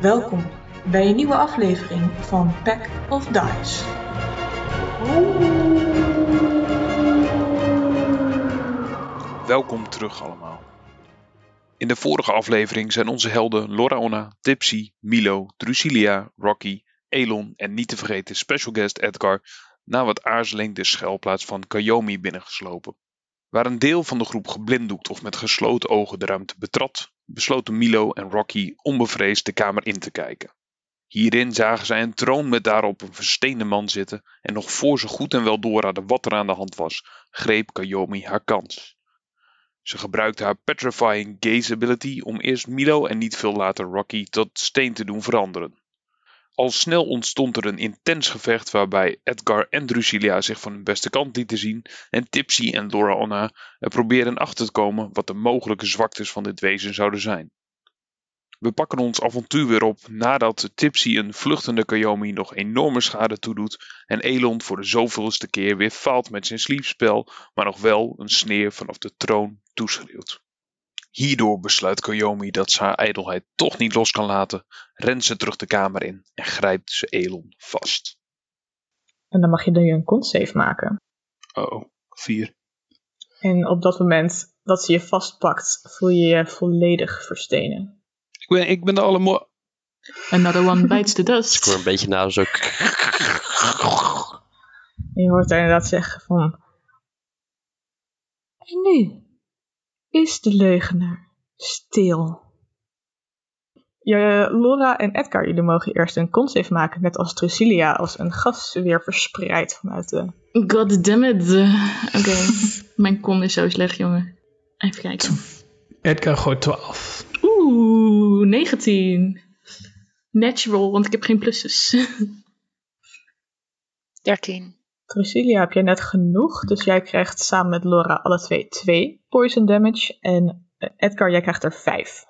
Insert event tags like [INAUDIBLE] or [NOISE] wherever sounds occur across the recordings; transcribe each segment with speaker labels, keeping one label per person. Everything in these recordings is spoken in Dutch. Speaker 1: Welkom bij een nieuwe aflevering van Pack of Dice.
Speaker 2: Welkom terug allemaal. In de vorige aflevering zijn onze helden Loraona, Tipsy, Milo, Drusilia, Rocky, Elon en niet te vergeten special guest Edgar na wat aarzeling de schuilplaats van Kayomi binnengeslopen. Waar een deel van de groep geblinddoekt of met gesloten ogen de ruimte betrad, besloten Milo en Rocky onbevreesd de kamer in te kijken. Hierin zagen zij een troon met daarop een versteende man zitten en nog voor ze goed en wel door hadden wat er aan de hand was, greep Kayomi haar kans. Ze gebruikte haar Petrifying Gaze ability om eerst Milo en niet veel later Rocky tot steen te doen veranderen. Al snel ontstond er een intens gevecht waarbij Edgar en Drusilia zich van hun beste kant lieten zien en Tipsy en Loraona er probeerden achter te komen wat de mogelijke zwaktes van dit wezen zouden zijn. We pakken ons avontuur weer op nadat Tipsy een vluchtende Kayomi nog enorme schade toedoet en Elon voor de zoveelste keer weer faalt met zijn sleepspel, maar nog wel een sneer vanaf de troon toeschreeuwt. Hierdoor besluit Kayomi dat ze haar ijdelheid toch niet los kan laten, rent ze terug de kamer in en grijpt ze Elon vast.
Speaker 1: En dan mag je nu een consave maken.
Speaker 2: Oh, vier.
Speaker 1: En op dat moment dat ze je vastpakt, voel je je volledig verstenen.
Speaker 2: Ik ben, ik ben de allermooi.
Speaker 3: Another one bites the dust.
Speaker 4: Ik hoor een beetje naar zo.
Speaker 1: En je hoort haar inderdaad zeggen van... En nu is de leugenaar stil. Je, Laura en Edgar, jullie mogen eerst een consave maken, net als Trucilia, als een gas weer verspreidt vanuit de...
Speaker 3: God damn it. Eh, Oké, [LAUGHS] mijn kon is zo slecht, jongen. Even kijken.
Speaker 5: Edgar gooit 12.
Speaker 3: Oeh, 19. Natural, want ik heb geen plusses.
Speaker 6: 13.
Speaker 1: Trucilia heb jij net genoeg, dus jij krijgt samen met Laura alle twee 2 poison damage. En eh, Edgar, jij krijgt er 5.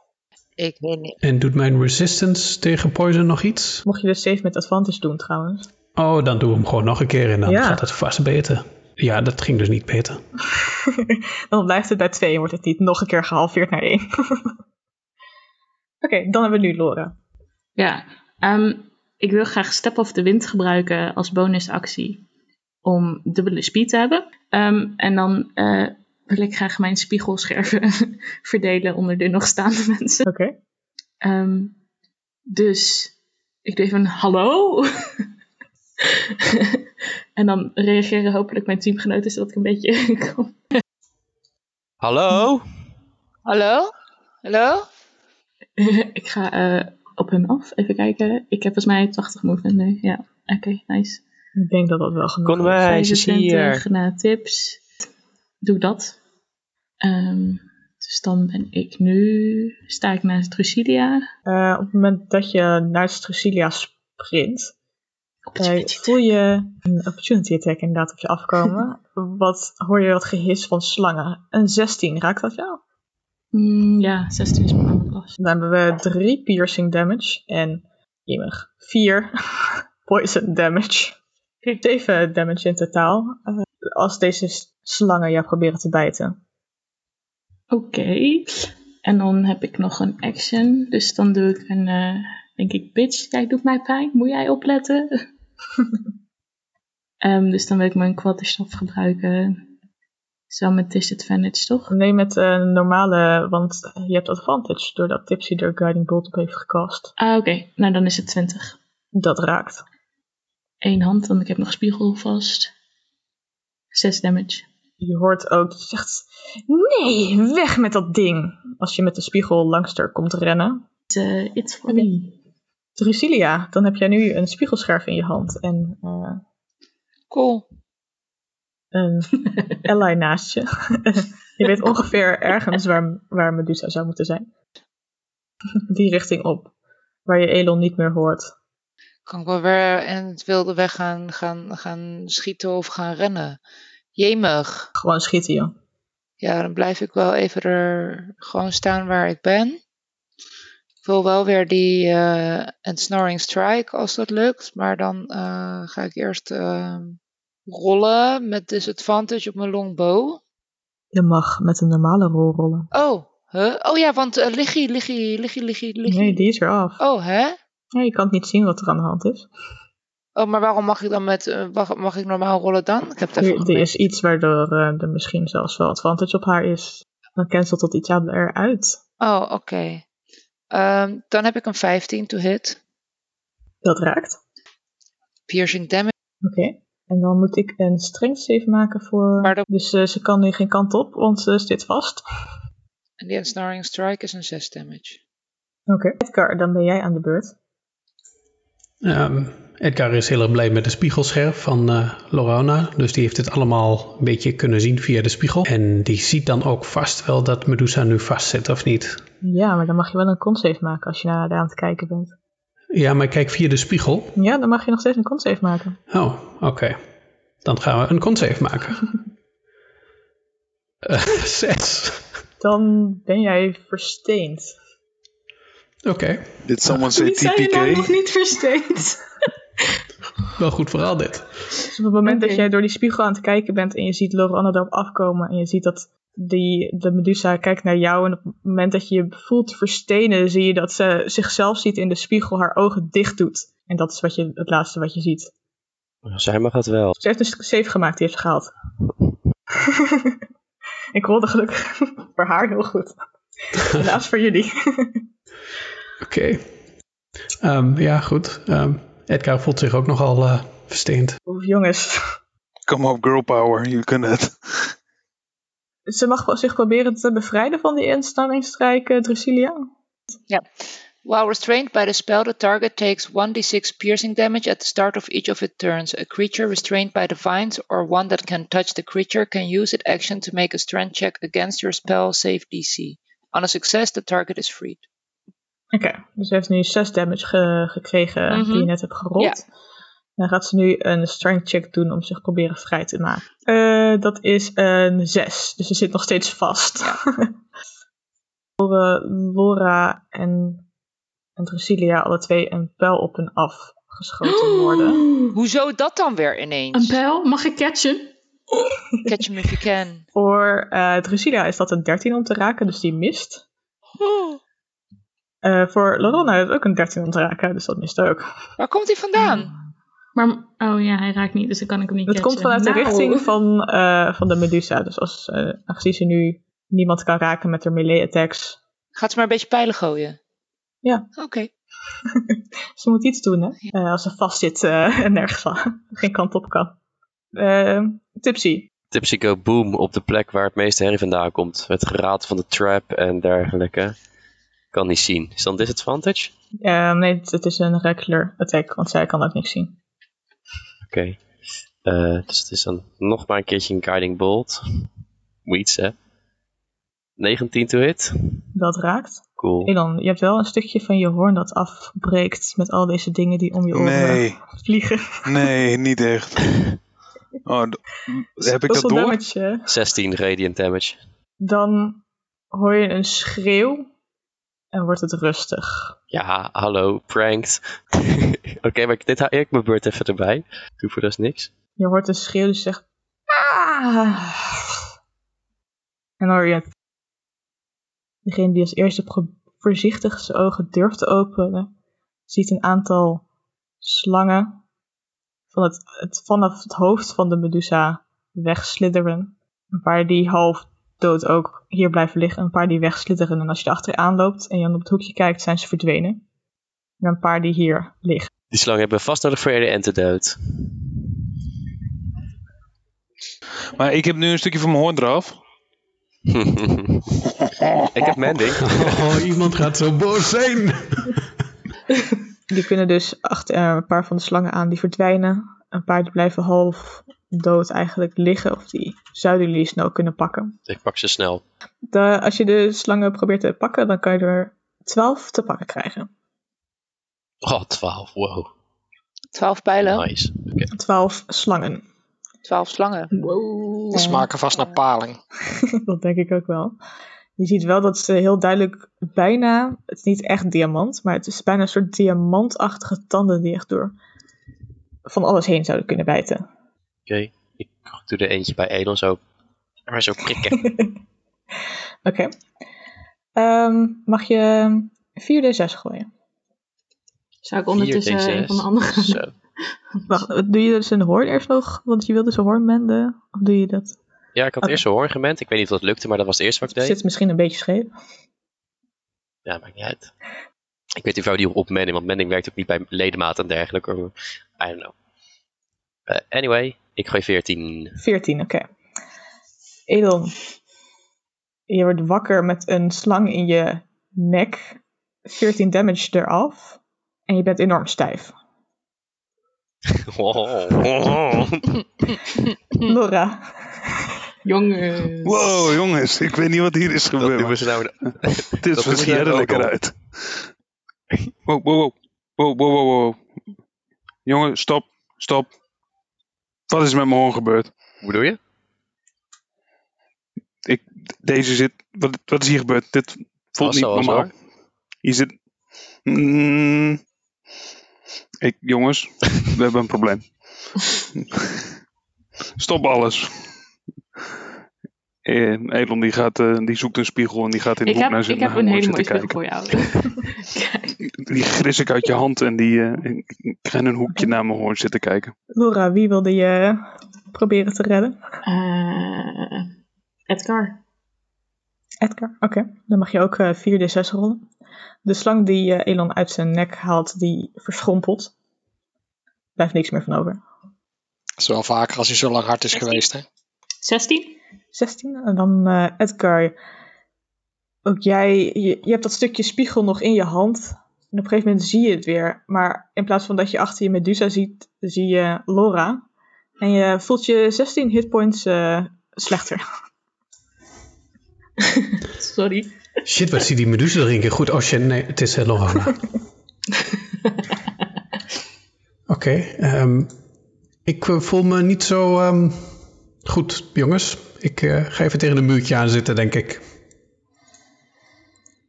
Speaker 6: Ik weet niet.
Speaker 5: En doet mijn resistance tegen poison nog iets?
Speaker 1: Mocht je de save met advantage doen trouwens.
Speaker 5: Oh, dan doen we hem gewoon nog een keer en dan
Speaker 1: Ja.
Speaker 5: gaat het vast beter. Ja, dat ging dus niet beter.
Speaker 1: Dan blijft het bij 2 en wordt het niet nog een keer gehalveerd naar 1. Oké, dan hebben we nu Laura.
Speaker 3: ja, ehm, ik wil graag Step of the Wind gebruiken als bonusactie om dubbele speed te hebben. Ehm, en dan eh, wil ik graag mijn spiegelscherven [LAUGHS] verdelen onder de nog staande mensen.
Speaker 1: Oké.
Speaker 3: Ehm, dus ik doe even een hallo. [LAUGHS] en dan reageren hopelijk mijn teamgenoten zodat ik een beetje [LAUGHS] kan.
Speaker 4: Hallo?
Speaker 6: Hallo? Hallo?
Speaker 3: [LAUGHS] ik ga eh, op hun af. Even kijken. Ik heb volgens mij 80 movement nu. Ja, oké, nice.
Speaker 1: [LAUGHS] Ik denk dat dat wel genoeg
Speaker 4: Kom wij, ze is hier.
Speaker 3: 25 na tips. Doe ik dat. Ehm, dus dan ben ik nu. Sta ik naast Drusilia.
Speaker 1: Eh, op het moment dat je naar Trucilia sprint, eh, voel je een opportunity attack inderdaad op je
Speaker 3: [LAUGHS]
Speaker 1: afkomen. wat hoor je wat gehis van slangen? Een 16, raakt dat jou?
Speaker 3: Mm, ja, 16 is mijn andere klas.
Speaker 1: Dan hebben we 3 piercing damage en jemig 4 [LAUGHS] poison damage. 7 damage in totaal. eh, als deze s- slangen jou proberen te bijten.
Speaker 3: Oké. En dan heb ik nog een action. Dus dan doe ik een, eh, denk ik, bitch, jij doet mij pijn. Moet jij opletten? [LAUGHS] Ehm, dus dan wil ik mijn quarterstaf gebruiken. Zo met disadvantage, toch?
Speaker 1: Nee, met een normale, want je hebt advantage doordat Tipsy er Guiding Bolt op heeft gecast.
Speaker 3: Ah, oké. Nou, dan is het 20.
Speaker 1: Dat raakt.
Speaker 3: Eén hand, want ik heb nog spiegel vast. 6 damage.
Speaker 1: Je hoort ook dat je zegt: Nee, weg met dat ding! Als je met de spiegel langster komt rennen.
Speaker 3: Eh, it's for me.
Speaker 1: Drusilia, dan heb jij nu een spiegelscherf in je hand en eh,
Speaker 6: Cool.
Speaker 1: een
Speaker 6: [LAUGHS]
Speaker 1: ally naast je. je weet ongeveer ergens waar, waar Medusa zou moeten zijn. Die richting op, waar je Elon niet meer hoort.
Speaker 6: Kan ik wel weer in het wilde weg gaan, gaan, gaan schieten of gaan rennen? Jemig.
Speaker 1: Gewoon schieten, joh.
Speaker 6: Ja, dan blijf ik wel even er gewoon staan waar ik ben. Ik wil wel weer die eh, Ensnaring Strike als dat lukt. Maar dan eh, ga ik eerst eh, rollen met disadvantage op mijn longbow.
Speaker 1: Je mag met een normale rol rollen.
Speaker 6: Oh, Huh? Oh ja, want eh, Liggie, Liggie, Liggie, Liggie, Liggie.
Speaker 1: Nee, die is weer af.
Speaker 6: Oh, hè?
Speaker 1: Ja, je kan het niet zien wat er aan de hand is.
Speaker 6: Oh, maar waarom mag ik dan met... eh, Mag, mag ik normaal rollen dan? Ik heb het even
Speaker 1: Er, er
Speaker 6: gemist.
Speaker 1: is iets waardoor eh, er misschien zelfs wel advantage op haar is. Dan cancelt dat iets aan eruit.
Speaker 6: Oh, oké. Ehm, dan heb ik een 15 to hit.
Speaker 1: Dat raakt.
Speaker 6: Piercing damage.
Speaker 1: Oké. En dan moet ik een strength save maken voor...
Speaker 6: Maar dat-
Speaker 1: Dus eh, ze kan nu geen kant op, want ze zit vast.
Speaker 6: En die ensnaring strike is een 6 damage.
Speaker 1: Oké. Edgar, dan ben jij aan de beurt.
Speaker 5: Ehm, Edgar is heel erg blij met de spiegelscherf van eh Lorana. Dus die heeft dit allemaal een beetje kunnen zien via de spiegel. En die ziet dan ook vast wel dat Medusa nu vastzit, of niet?
Speaker 1: Ja, maar dan mag je wel een con save maken als je naar haar aan het kijken bent.
Speaker 5: Ja, maar kijk via de spiegel.
Speaker 1: Ja, dan mag je nog steeds een con save maken.
Speaker 5: Oh, oké. Dan gaan we een consave maken.
Speaker 7: [LAUGHS]
Speaker 5: Eh, zes.
Speaker 1: Dan ben jij versteend.
Speaker 5: Oké,
Speaker 7: Did someone say
Speaker 3: Die zijn je nou nog
Speaker 7: TPK?
Speaker 3: niet versteend.
Speaker 5: wel goed verhaal dit.
Speaker 1: Dus op het moment dat
Speaker 3: Oké.
Speaker 1: jij door die spiegel aan het kijken bent en je ziet Lorana erop afkomen en je ziet dat die, de Medusa kijkt naar jou en op het moment dat je je voelt verstenen zie je dat ze zichzelf ziet in de spiegel, haar ogen dicht doet. En dat is wat je, het laatste wat je ziet.
Speaker 4: [LAUGHS] Zij mag het wel.
Speaker 1: Ze heeft een save gemaakt, die heeft ze gehaald. [LAUGHS] Ik rolde gelukkig [LAUGHS] voor haar heel goed. Helaas voor jullie. [LAUGHS]
Speaker 5: Oké. Ehm, ja, goed. Ehm, Edgar voelt zich ook nogal eh, versteend.
Speaker 1: Oef, jongens.
Speaker 7: Come op, girl power, you can it.
Speaker 1: Ze mag wel zich proberen te bevrijden van die instammingsstrijk, eh, Drusilia.
Speaker 6: While restrained by the spell, the target takes 1d6 piercing damage at the start of each of its turns. A creature restrained by the vines or one that can touch the creature can use its action to make a strength check against your spell save DC. On a success, the target is freed.
Speaker 1: [GASPS] Oké, dus ze heeft nu 6 damage ge- gekregen
Speaker 6: Mhm.
Speaker 1: die je net hebt gerold.
Speaker 6: Ja.
Speaker 1: Dan gaat ze nu een strength check doen om zich proberen vrij te maken. Eh, dat is een 6, dus ze zit nog steeds vast. [LAUGHS] Voor eh, Laura en, en Drusilia alle twee een pijl op en af geschoten worden.
Speaker 6: Hoezo dat dan weer
Speaker 3: [GASPS] Een
Speaker 6: [GASPS] ineens?
Speaker 3: pijl? [GASPS] Mag ik catchen?
Speaker 6: [LAUGHS] Catch him if you can.
Speaker 1: Voor eh Drusilia is dat een 13 om te raken, dus die mist.
Speaker 6: Oh.
Speaker 1: Eh, voor Lorona is het ook een 13 om te raken, dus dat mist ook.
Speaker 6: Waar komt hij vandaan?
Speaker 3: Maar, oh ja, hij raakt niet, dus dan kan ik hem niet
Speaker 1: Dat
Speaker 3: catchen.
Speaker 1: komt vanuit de
Speaker 3: Nou.
Speaker 1: richting van, eh, van de Medusa. Dus als, eh aangezien ze nu niemand kan raken met haar melee attacks.
Speaker 6: Gaat ze maar een beetje pijlen gooien.
Speaker 1: Ja.
Speaker 6: Oké.
Speaker 1: [LAUGHS] Ze moet iets doen, hè? Eh, als ze vast zit eh, en nergens van, [LAUGHS] geen kant op kan. Eh, tipsy.
Speaker 4: Tipsy go boom op de plek waar het meeste herrie vandaan komt. Het geraad van de trap en dergelijke. Kan niet zien. Is dan disadvantage?
Speaker 1: Eh, nee, het, het is een regular attack, want zij kan ook niks zien.
Speaker 4: Oké. Eh, dus het is dan nog maar een keertje een guiding bolt. Weeds, hè? 19 to hit.
Speaker 1: Dat raakt.
Speaker 7: Oh.
Speaker 4: Cool.
Speaker 1: Elon, je hebt wel een stukje van je hoorn dat afbreekt met al deze dingen die om je oren
Speaker 7: Nee,
Speaker 1: vliegen.
Speaker 7: nee, niet
Speaker 4: [LAUGHS]
Speaker 7: echt. Oh, d- heb ik dat
Speaker 1: Hoeveel
Speaker 7: door?
Speaker 1: damage, eh?
Speaker 4: 16 radiant damage.
Speaker 1: Dan hoor je een schreeuw en wordt het rustig.
Speaker 4: Ja, hallo, pranked. [LAUGHS] Oké, maar ik- dit haal ik mijn beurt even erbij. Doe voor dat is niks.
Speaker 1: Je hoort een schreeuw die zegt. "Ah!" En dan hoor je. het. Degene die als eerste pro- voorzichtig zijn ogen durft te openen, ziet een aantal slangen van het, het, vanaf het hoofd van de Medusa wegslideren. Een paar die half dood ook hier blijven liggen, een paar die wegslideren. En als je erachteraan loopt en je dan op het hoekje kijkt, zijn ze verdwenen. En een paar die hier liggen.
Speaker 4: Die slang hebben we vast nodig voor de antidote.
Speaker 7: Maar ik heb nu een stukje van mijn hoorn eraf.
Speaker 4: [LAUGHS] ik heb mending.
Speaker 5: [LAUGHS]
Speaker 4: [LAUGHS]
Speaker 5: Oh, iemand gaat zo boos zijn.
Speaker 1: Die kunnen dus achter eh, een paar van de slangen aan, die verdwijnen. Een paar die blijven half dood eigenlijk liggen, of die zouden jullie snel kunnen pakken.
Speaker 4: ik pak ze snel.
Speaker 1: De- als je de slangen probeert te pakken, dan kan je er 12 te pakken krijgen.
Speaker 4: Oh, 12. Wow.
Speaker 6: 12 pijlen,
Speaker 4: Nice. Oké.
Speaker 1: 12 slangen.
Speaker 6: 12 slangen.
Speaker 3: Wow.
Speaker 8: Ze maken vast naar paling.
Speaker 1: [LAUGHS] dat denk ik ook wel. Je ziet wel dat ze heel duidelijk bijna, het is niet echt diamant, maar het is bijna een soort diamantachtige tanden die echt door van alles heen zouden kunnen bijten.
Speaker 4: Oké. Ik doe er eentje bij Elon zo. Maar zo prikken.
Speaker 1: Oké. Ehm, mag je 4d6 gooien.
Speaker 3: Zou ik ondertussen
Speaker 4: Vier,
Speaker 3: een van de andere...
Speaker 4: Zo.
Speaker 1: Wacht, doe je dus een hoorn eerst nog? Want je wilde dus een hoorn menden. Of doe je dat?
Speaker 4: Ja, ik had
Speaker 1: Oké.
Speaker 4: eerst een hoorn gemend. Ik weet niet of dat lukte, maar dat was het eerste wat ik deed.
Speaker 1: Zit misschien een beetje scheef.
Speaker 4: Ja, maakt niet uit. Ik weet niet of we die op mending, want mending werkt ook niet bij ledemaat en dergelijke. I don't know. Eh, anyway, ik gooi 14.
Speaker 1: 14, oké. Elon, je wordt wakker met een slang in je nek. 14 damage eraf. En je bent enorm
Speaker 4: [LAUGHS]
Speaker 1: stijf.
Speaker 4: Wow.
Speaker 1: Laura,
Speaker 3: Jongens.
Speaker 7: Wow, jongens, ik weet niet wat hier is
Speaker 4: Dat
Speaker 7: gebeurd.
Speaker 4: doen we ze
Speaker 7: [LAUGHS]
Speaker 4: nou.
Speaker 7: Het
Speaker 4: [LAUGHS] dat nou
Speaker 7: is
Speaker 4: doen we
Speaker 7: misschien
Speaker 4: daar
Speaker 7: er
Speaker 4: ook
Speaker 7: lekker
Speaker 4: al.
Speaker 7: uit. Wow, wow, wow. Wow, wow, wow, wow. Jongen, stop. Stop. Wat is met mijn hoorn gebeurd?
Speaker 4: Hoe bedoel je?
Speaker 7: Ik, deze zit... Wat, wat is hier gebeurd? Dit voelt
Speaker 4: Was
Speaker 7: niet
Speaker 4: zo, was
Speaker 7: normaal. Hier zit... Mm. ik, jongens, we hebben een probleem. Stop alles. Eh, Elon die gaat, eh, die zoekt een spiegel en die gaat in de
Speaker 3: Ik
Speaker 7: hoek
Speaker 3: heb,
Speaker 4: nou
Speaker 7: naar zijn
Speaker 3: ik heb
Speaker 7: naar
Speaker 3: een
Speaker 7: hoorn
Speaker 3: hele mooie
Speaker 7: zitten
Speaker 3: spiegel
Speaker 7: kijken.
Speaker 3: voor jou. Kijk,
Speaker 7: Die gris ik uit je hand en die eh, ik- ik ga in een hoekje naar mijn hoorn zitten kijken.
Speaker 1: Laura, wie wilde je proberen te redden?
Speaker 3: eh, Edgar.
Speaker 1: Edgar, oké. Dan mag je ook eh, 4d6 rollen. De slang die eh, Elon uit zijn nek haalt, die verschrompelt. Blijft niks meer van over.
Speaker 8: Dat is wel vaker als hij zo lang hard is geweest, hè?
Speaker 3: 16?
Speaker 1: 16. En dan eh, Edgar. Ook jij, je, je hebt dat stukje spiegel nog in je hand. En op een gegeven moment zie je het weer. Maar in plaats van dat je achter je Medusa ziet, zie je Laura. En je voelt je 16 hitpoints eh, slechter.
Speaker 3: Sorry.
Speaker 5: Shit, wat zie die Medusa er een keer goed? Oh shit, nee, het is eh, Lorana. Oké, ehm, ik eh, voel me niet zo ehm, goed, jongens. Ik eh, ga even tegen een muurtje aan zitten, denk ik.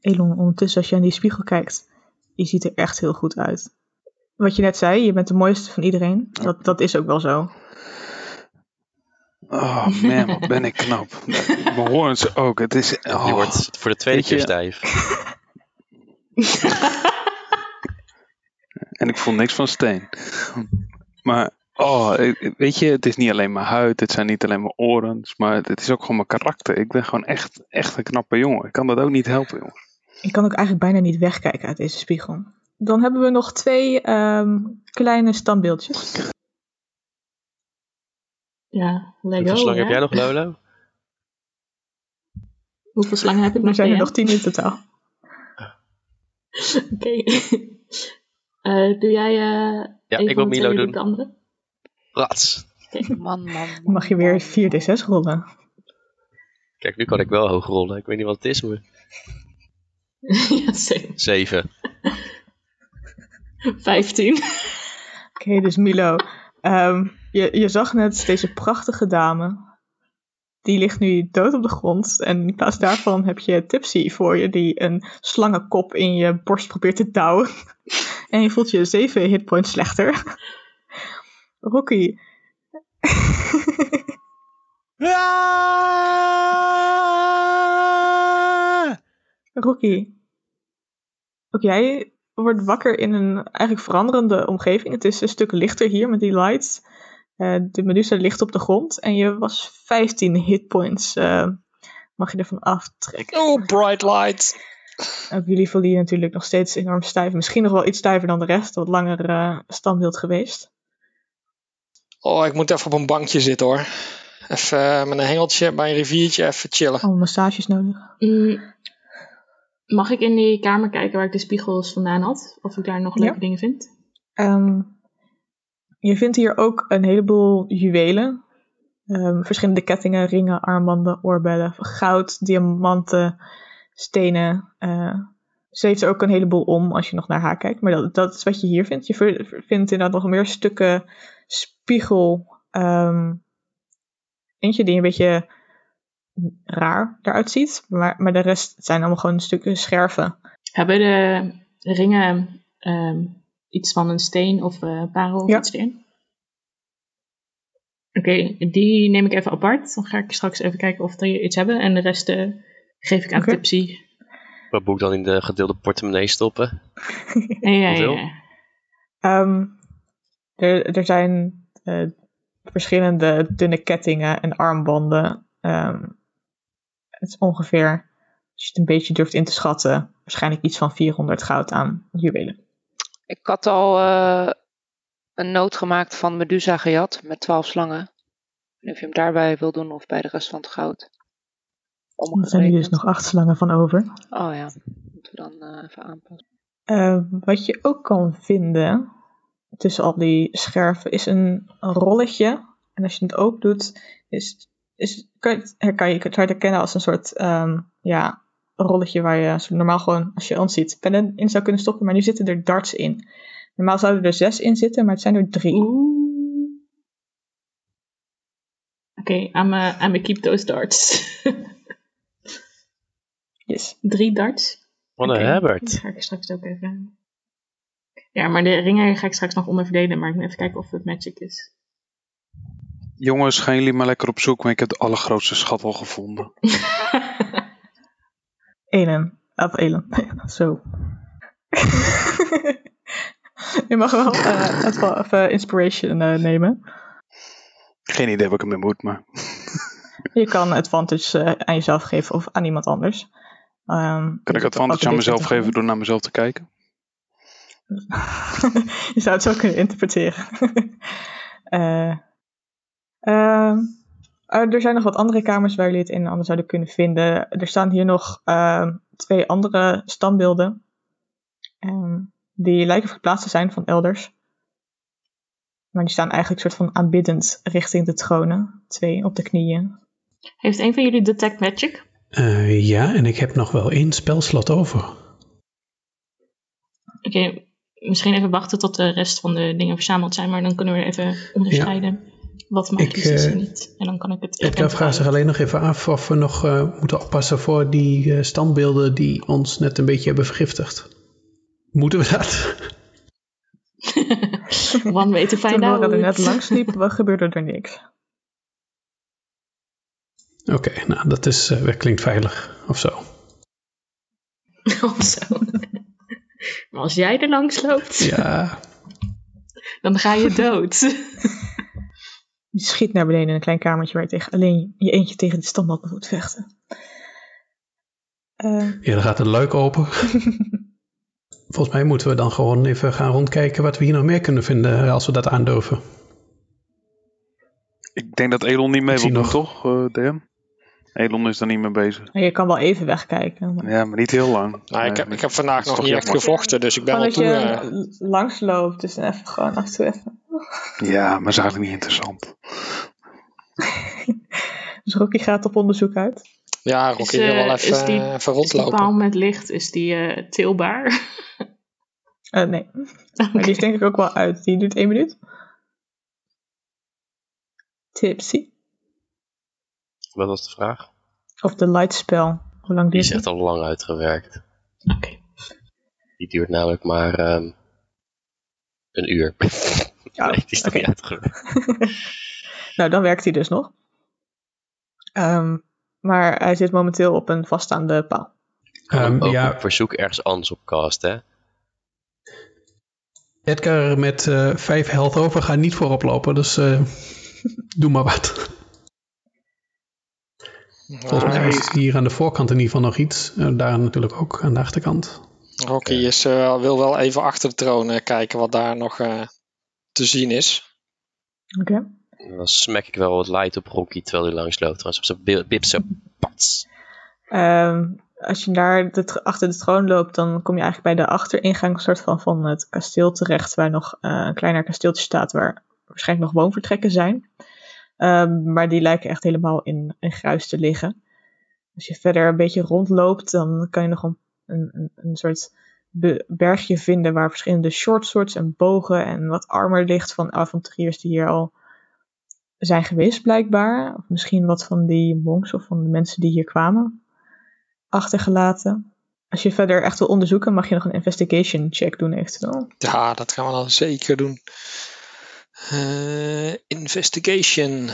Speaker 1: Elon, ondertussen als je aan die spiegel kijkt, je ziet er echt heel goed uit. Wat je net zei, je bent de mooiste van iedereen. Dat, dat is ook wel zo.
Speaker 7: Oh man, wat ben ik knap. Mijn hoorns ook. Het is...
Speaker 4: Nu
Speaker 7: Oh.
Speaker 4: wordt voor de tweede
Speaker 7: Weet je-
Speaker 4: keer stijf.
Speaker 7: En ik voel niks van steen. Maar, oh, ik- weet je, het is niet alleen mijn huid, het zijn niet alleen mijn oren, maar het- het is ook gewoon mijn karakter. Ik ben gewoon echt, echt een knappe jongen. Ik kan dat ook niet helpen, jongen.
Speaker 1: Ik kan ook eigenlijk bijna niet wegkijken uit deze spiegel. Dan hebben we nog twee ehm, kleine standbeeldjes.
Speaker 3: Ja, Lego.
Speaker 4: Hoeveel slang
Speaker 3: hè?
Speaker 4: heb jij nog,
Speaker 1: [LAUGHS]
Speaker 4: Lolo?
Speaker 3: Hoeveel slangen heb ik nog?
Speaker 1: Er zijn er
Speaker 3: Lea?
Speaker 1: nog tien in totaal.
Speaker 3: [LAUGHS] Oké. [LAUGHS] Eh, doe jij eh
Speaker 4: Ja,
Speaker 3: een
Speaker 4: ik wil
Speaker 3: van de twee,
Speaker 4: Milo
Speaker 3: doe
Speaker 4: doen.
Speaker 3: ik de andere?
Speaker 4: Rats.
Speaker 6: [LAUGHS] Man, man, man.
Speaker 1: Mag je weer 4d6 rollen?
Speaker 4: Kijk, nu kan ik wel hoog rollen. Ik weet niet wat het is, maar...
Speaker 3: [LAUGHS] ja, zeker.
Speaker 4: 7.
Speaker 3: 15.
Speaker 1: Oké, dus Milo, ehm, je, je zag net deze prachtige dame. Die ligt nu dood op de grond. En in plaats daarvan heb je Tipsy voor je, die een slangenkop in je borst probeert te douwen. [LAUGHS] en je voelt je 7 hitpoints slechter. Rocky, Rocky. Ook jij wordt wakker in een eigenlijk veranderende omgeving. Het is een stuk lichter hier met die lights. Eh, de Medusa ligt op de grond en je was 15 hitpoints. eh, mag je ervan aftrekken.
Speaker 8: Oh, bright light.
Speaker 1: Ook jullie voelen je natuurlijk nog steeds enorm stijf. Misschien nog wel iets stijver dan de rest. Wat langer eh, standbeeld geweest.
Speaker 8: Oh, ik moet even op een bankje zitten, hoor. Even eh, met een hengeltje bij een riviertje even chillen.
Speaker 1: Allemaal massages nodig.
Speaker 3: Mm, Mag ik in die kamer kijken waar ik de spiegels vandaan had? Of ik daar nog
Speaker 1: Ja.
Speaker 3: leuke dingen vind?
Speaker 1: Ehm, je vindt hier ook een heleboel juwelen. Ehm, verschillende kettingen, ringen, armbanden, oorbellen, goud, diamanten, stenen. Eh, ze heeft er ook een heleboel om als je nog naar haar kijkt. Maar dat, dat is wat je hier vindt. Je ver- vindt inderdaad nog meer stukken spiegel. ehm, eentje die een beetje raar eruit ziet. Maar, maar de rest zijn allemaal gewoon stukken scherven.
Speaker 3: Hebben de ringen ehm, iets van een steen of eh parel of
Speaker 1: Ja.
Speaker 3: iets erin? Oké, die neem ik even apart. Dan ga ik straks even kijken of die iets hebben. En de rest eh, geef ik aan
Speaker 1: [LAUGHS] Oké.
Speaker 3: Tipsy.
Speaker 4: Wat moet ik dan in de gedeelde portemonnee stoppen?
Speaker 3: Ja, ja,
Speaker 4: Hoeveel?
Speaker 3: ja.
Speaker 1: Ehm, er, er zijn eh, verschillende dunne kettingen en armbanden. Ehm, het is ongeveer, als je het een beetje durft in te schatten, waarschijnlijk iets van 400 goud aan juwelen.
Speaker 6: Ik had al eh, een noot gemaakt van Medusa gejat met twaalf slangen. En of je hem daarbij wil doen of bij de rest van het goud.
Speaker 1: Er zijn nu dus
Speaker 6: Omgerekend.
Speaker 1: nog acht slangen van over.
Speaker 6: Oh ja, moeten we dan eh, even [LAUGHS] aanpassen.
Speaker 1: Eh, wat je ook kan vinden tussen al die scherven is een, een rolletje. En als je het ook doet, is, is, kan, je het- her- kan je het hard herkennen als een soort ehm, ja, een rolletje waar je zo normaal gewoon, als je ons ziet, pennen in zou kunnen stoppen. Maar nu zitten er darts in. Normaal zouden er zes in zitten, maar het zijn er drie.
Speaker 3: Oeh. Oké, I'm, eh, I'm a keep those darts.
Speaker 1: [LAUGHS] Yes.
Speaker 3: Drie darts.
Speaker 4: Wat een
Speaker 3: Oké,
Speaker 4: Herbert.
Speaker 3: Die ga ik straks ook even. Ja, maar de ringer ga ik straks nog onderverdelen, maar ik moet even kijken of het magic is.
Speaker 7: Jongens, gaan jullie maar lekker op zoek, maar ik heb de allergrootste schat al gevonden.
Speaker 1: [LAUGHS] Elen. Of Elen. [LAUGHS] Zo. je mag wel eh, het wel even inspiration eh, nemen.
Speaker 7: Geen idee wat ik ermee moet, maar...
Speaker 1: Je kan advantage eh, aan jezelf geven of aan iemand anders. Ehm,
Speaker 7: Kan ik
Speaker 1: je hebt ook
Speaker 7: advantage aan mezelf
Speaker 1: altijd
Speaker 7: geven door naar mezelf te kijken?
Speaker 1: [LAUGHS] je zou het zo kunnen interpreteren. [LAUGHS] Eh, ehm, eh, er zijn nog wat andere kamers waar jullie het een en ander zouden kunnen vinden. Er staan hier nog ehm, twee andere standbeelden. ehm, die lijken verplaatst te zijn van elders. Maar die staan eigenlijk soort van aanbiddend richting de tronen. Twee op de knieën.
Speaker 3: Heeft een van jullie detect
Speaker 1: [LAUGHS]
Speaker 3: magic?
Speaker 5: Eh, ja, en ik heb nog wel één spelslot over.
Speaker 3: Oké, misschien even wachten tot de rest van de dingen verzameld zijn, maar dan kunnen we even onderscheiden wat magisch
Speaker 5: Ik,
Speaker 3: is en
Speaker 5: eh,
Speaker 3: niet. En dan kan ik het
Speaker 5: Edgar vraagt zich alleen nog even af of we nog eh, moeten oppassen voor die eh, standbeelden die ons net een beetje hebben vergiftigd. Moeten we dat? [LAUGHS]
Speaker 3: One way to
Speaker 1: Toen
Speaker 3: find out.
Speaker 1: Laura er net langs liep,
Speaker 3: [LAUGHS]
Speaker 1: wat gebeurde er niks.
Speaker 5: Oké, nou dat, is, eh, dat klinkt veilig of zo.
Speaker 3: [LAUGHS] Of zo. Maar als jij er langs loopt, [LAUGHS]
Speaker 5: Ja,
Speaker 3: dan ga je dood.
Speaker 1: Je schiet naar beneden in een klein kamertje waar je tegen, alleen je eentje tegen de standaard moet vechten. Eh,
Speaker 5: [LAUGHS] ja dan gaat een luik open. Volgens mij moeten we dan gewoon even gaan rondkijken wat we hier nog meer kunnen vinden eh, als we dat aandurven.
Speaker 7: Ik denk dat Elon niet mee
Speaker 5: Ik
Speaker 7: wil
Speaker 5: zie
Speaker 7: doen,
Speaker 5: nog-
Speaker 7: toch, eh, DM? Elon is daar niet mee bezig.
Speaker 1: maar nou, je kan wel even wegkijken. maar-
Speaker 7: Ja, maar niet heel lang.
Speaker 8: Nou, ik, heb,
Speaker 7: eigenlijk.
Speaker 8: ik heb vandaag
Speaker 7: Dat is
Speaker 8: nog
Speaker 7: toch
Speaker 8: niet echt
Speaker 7: jammer.
Speaker 8: gevochten, dus ik ben
Speaker 1: Gewoon
Speaker 8: wel
Speaker 1: dat je
Speaker 8: toe. eh,
Speaker 1: l- langs loopt, dus even gewoon af en toe even.
Speaker 8: eh.
Speaker 7: Ja, maar is eigenlijk niet interessant.
Speaker 1: Dus Rocky gaat op onderzoek uit.
Speaker 8: ja, Rocky
Speaker 3: Is, eh,
Speaker 8: wil wel
Speaker 3: is
Speaker 8: even,
Speaker 3: die-
Speaker 8: eh, even
Speaker 3: Is die
Speaker 8: rondlopen.
Speaker 3: paal met licht, is die eh, tilbaar? [LAUGHS]
Speaker 1: Eh, nee, maar die is denk ik ook wel uit. Die doet één minuut. Tipsy.
Speaker 4: Wat was de vraag?
Speaker 1: Of de lightspel. Hoe lang
Speaker 4: Die
Speaker 1: duurt
Speaker 4: is
Speaker 1: die?
Speaker 4: echt al lang uitgewerkt.
Speaker 3: Oké.
Speaker 4: Die duurt namelijk maar ehm, een uur. [LAUGHS]
Speaker 1: Oh,
Speaker 4: nee, die is nog
Speaker 1: oké.
Speaker 4: niet uitgewerkt.
Speaker 1: [LAUGHS] Nou, dan werkt hij dus nog. Ehm, maar hij zit momenteel op een vaststaande paal.
Speaker 4: Kan
Speaker 5: Ehm,
Speaker 4: ook
Speaker 5: ja,
Speaker 4: op verzoek ergens anders op cast, hè?
Speaker 5: Edgar met eh, vijf health over gaat niet voorop lopen, dus eh, doe maar wat. Volgens mij
Speaker 8: Nou,
Speaker 5: is hier aan de voorkant in ieder geval nog iets. Eh, daar natuurlijk ook aan de achterkant.
Speaker 8: Rocky is, eh, wil wel even achter de troon eh, kijken wat daar nog eh, te zien is.
Speaker 1: Oké.
Speaker 4: En Dan smek ik wel wat light op Rocky terwijl hij langs loopt. Trouwens, op zijn bi- bib zo [LAUGHS] pats.
Speaker 1: Ehm, als je daar de tr- achter de troon loopt, dan kom je eigenlijk bij de achteringang soort van, van het kasteel terecht, waar nog eh, een kleiner kasteeltje staat, waar waarschijnlijk nog woonvertrekken zijn. Ehm, maar die lijken echt helemaal in, in gruis te liggen. Als je verder een beetje rondloopt, dan kan je nog een, een, een- een soort be- bergje vinden waar verschillende short swords en bogen en wat armor ligt van avonturiers die hier al zijn geweest blijkbaar. Of misschien wat van die monks of van de mensen die hier kwamen achtergelaten. Als je verder echt wil onderzoeken, mag je nog een investigation check doen eventueel.
Speaker 8: Ja, dat gaan we dan zeker doen. Eh, investigation.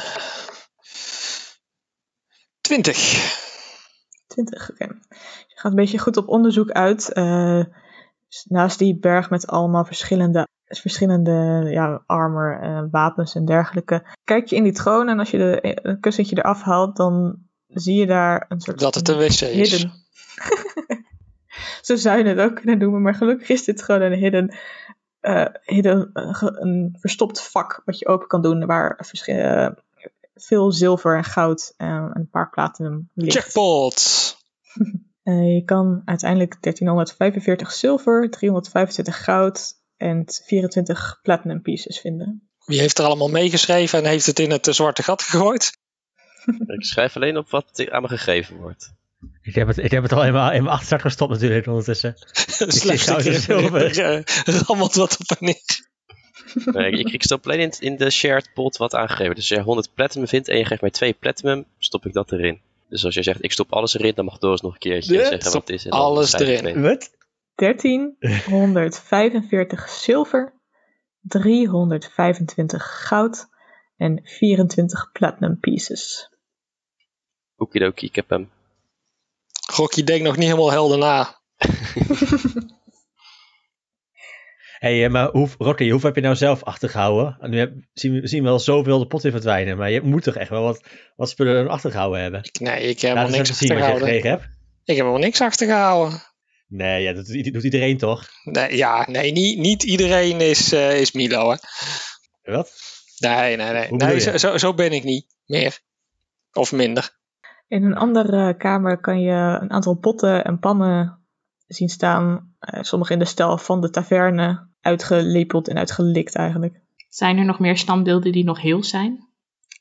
Speaker 8: 20.
Speaker 1: 20, oké. Je gaat een beetje goed op onderzoek uit. eh, s- naast die berg met allemaal verschillende, verschillende ja, armor, eh, wapens en dergelijke. Kijk je in die troon en als je de, eh, een kussentje eraf haalt, dan zie je daar een soort...
Speaker 8: Dat het een wc is.
Speaker 1: Hidden. Zo zou je het ook kunnen noemen, maar gelukkig is dit gewoon een hidden, eh, hidden eh, ge- een verstopt vak wat je open kan doen waar verschi- eh, veel zilver en goud eh, en een paar platinum ligt.
Speaker 8: Jackpot!
Speaker 1: Eh, je kan uiteindelijk 1345 zilver, 325 goud en 24 platinum pieces vinden.
Speaker 8: Wie heeft er allemaal meegeschreven en heeft het in het eh, zwarte gat gegooid?
Speaker 4: Ik schrijf alleen op wat aan me gegeven wordt.
Speaker 9: Ik heb het, ik heb het al in mijn, in mijn achterzak gestopt natuurlijk
Speaker 8: [LAUGHS]
Speaker 9: ondertussen.
Speaker 8: Slapstick
Speaker 9: goud en [LAUGHS]
Speaker 8: [LAUGHS]
Speaker 9: zilver.
Speaker 8: er, eh, rammelt wat op en neer.
Speaker 4: Nee, Eh, ik, ik stop alleen in, in de shared pot wat aangegeven. Dus als jij 100 platinum vindt en je geeft mij 2 platinum, stop ik dat erin. Dus als jij zegt, ik stop alles erin, dan mag Doris nog een keertje
Speaker 8: Ja,
Speaker 4: zeggen
Speaker 8: stop
Speaker 4: wat het is. En dan
Speaker 8: alles
Speaker 4: schrijf ik
Speaker 8: erin.
Speaker 4: mee.
Speaker 9: Wat?
Speaker 1: 1345 zilver, 325 goud en 24 platinum pieces.
Speaker 4: Okidoki, ik heb hem.
Speaker 8: Rocky denkt nog niet helemaal helder na.
Speaker 9: Hé, [LAUGHS] hey, eh, maar hoe, Rocky, hoeveel heb je nou zelf achtergehouden? En Nu heb, zien, we, zien we al zoveel de pot in verdwijnen, maar je moet toch echt wel wat, wat spullen er achtergehouden hebben?
Speaker 8: Nee, ik heb helemaal
Speaker 9: Laat eens
Speaker 8: niks
Speaker 9: even zien wat je
Speaker 8: achtergehouden. Ik
Speaker 9: gekregen hebt.
Speaker 8: heb helemaal niks achtergehouden.
Speaker 9: Nee, ja, dat doet, doet iedereen toch?
Speaker 8: Nee, ja, nee, niet, niet iedereen is, eh, is Milo, hè.
Speaker 9: Wat?
Speaker 8: Nee, nee, nee.
Speaker 9: Hoe bedoel
Speaker 8: nee
Speaker 9: je?
Speaker 8: zo, zo, zo ben ik niet. Meer. Of minder.
Speaker 1: In een andere kamer kan je een aantal potten en pannen zien staan. eh, sommige in de stijl van de taverne, uitgelepeld en uitgelikt eigenlijk.
Speaker 3: Zijn er nog meer standbeelden die nog heel zijn?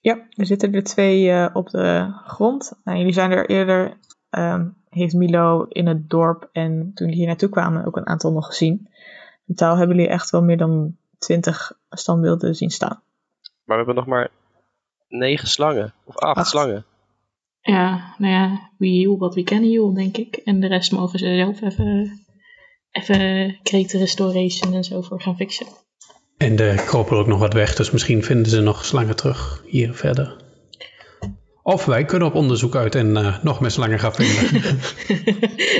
Speaker 1: Ja, er zitten er twee eh, op de grond. Nou, jullie zijn er eerder, ehm, heeft Milo in het dorp en toen jullie hier naartoe kwamen ook een aantal nog gezien. In totaal hebben jullie echt wel meer dan twintig standbeelden zien staan.
Speaker 4: Maar we hebben nog maar 9 slangen. Of 8
Speaker 1: Acht.
Speaker 4: slangen.
Speaker 3: Ja, nou ja, wie hiel wat we kennen hiel, denk ik. En de rest mogen ze zelf even, even crate restoration en zo voor gaan fixen.
Speaker 5: En er kropen ook nog wat weg, dus misschien vinden ze nog slangen terug hier verder. Of wij kunnen op onderzoek uit en eh, nog meer slangen gaan vinden.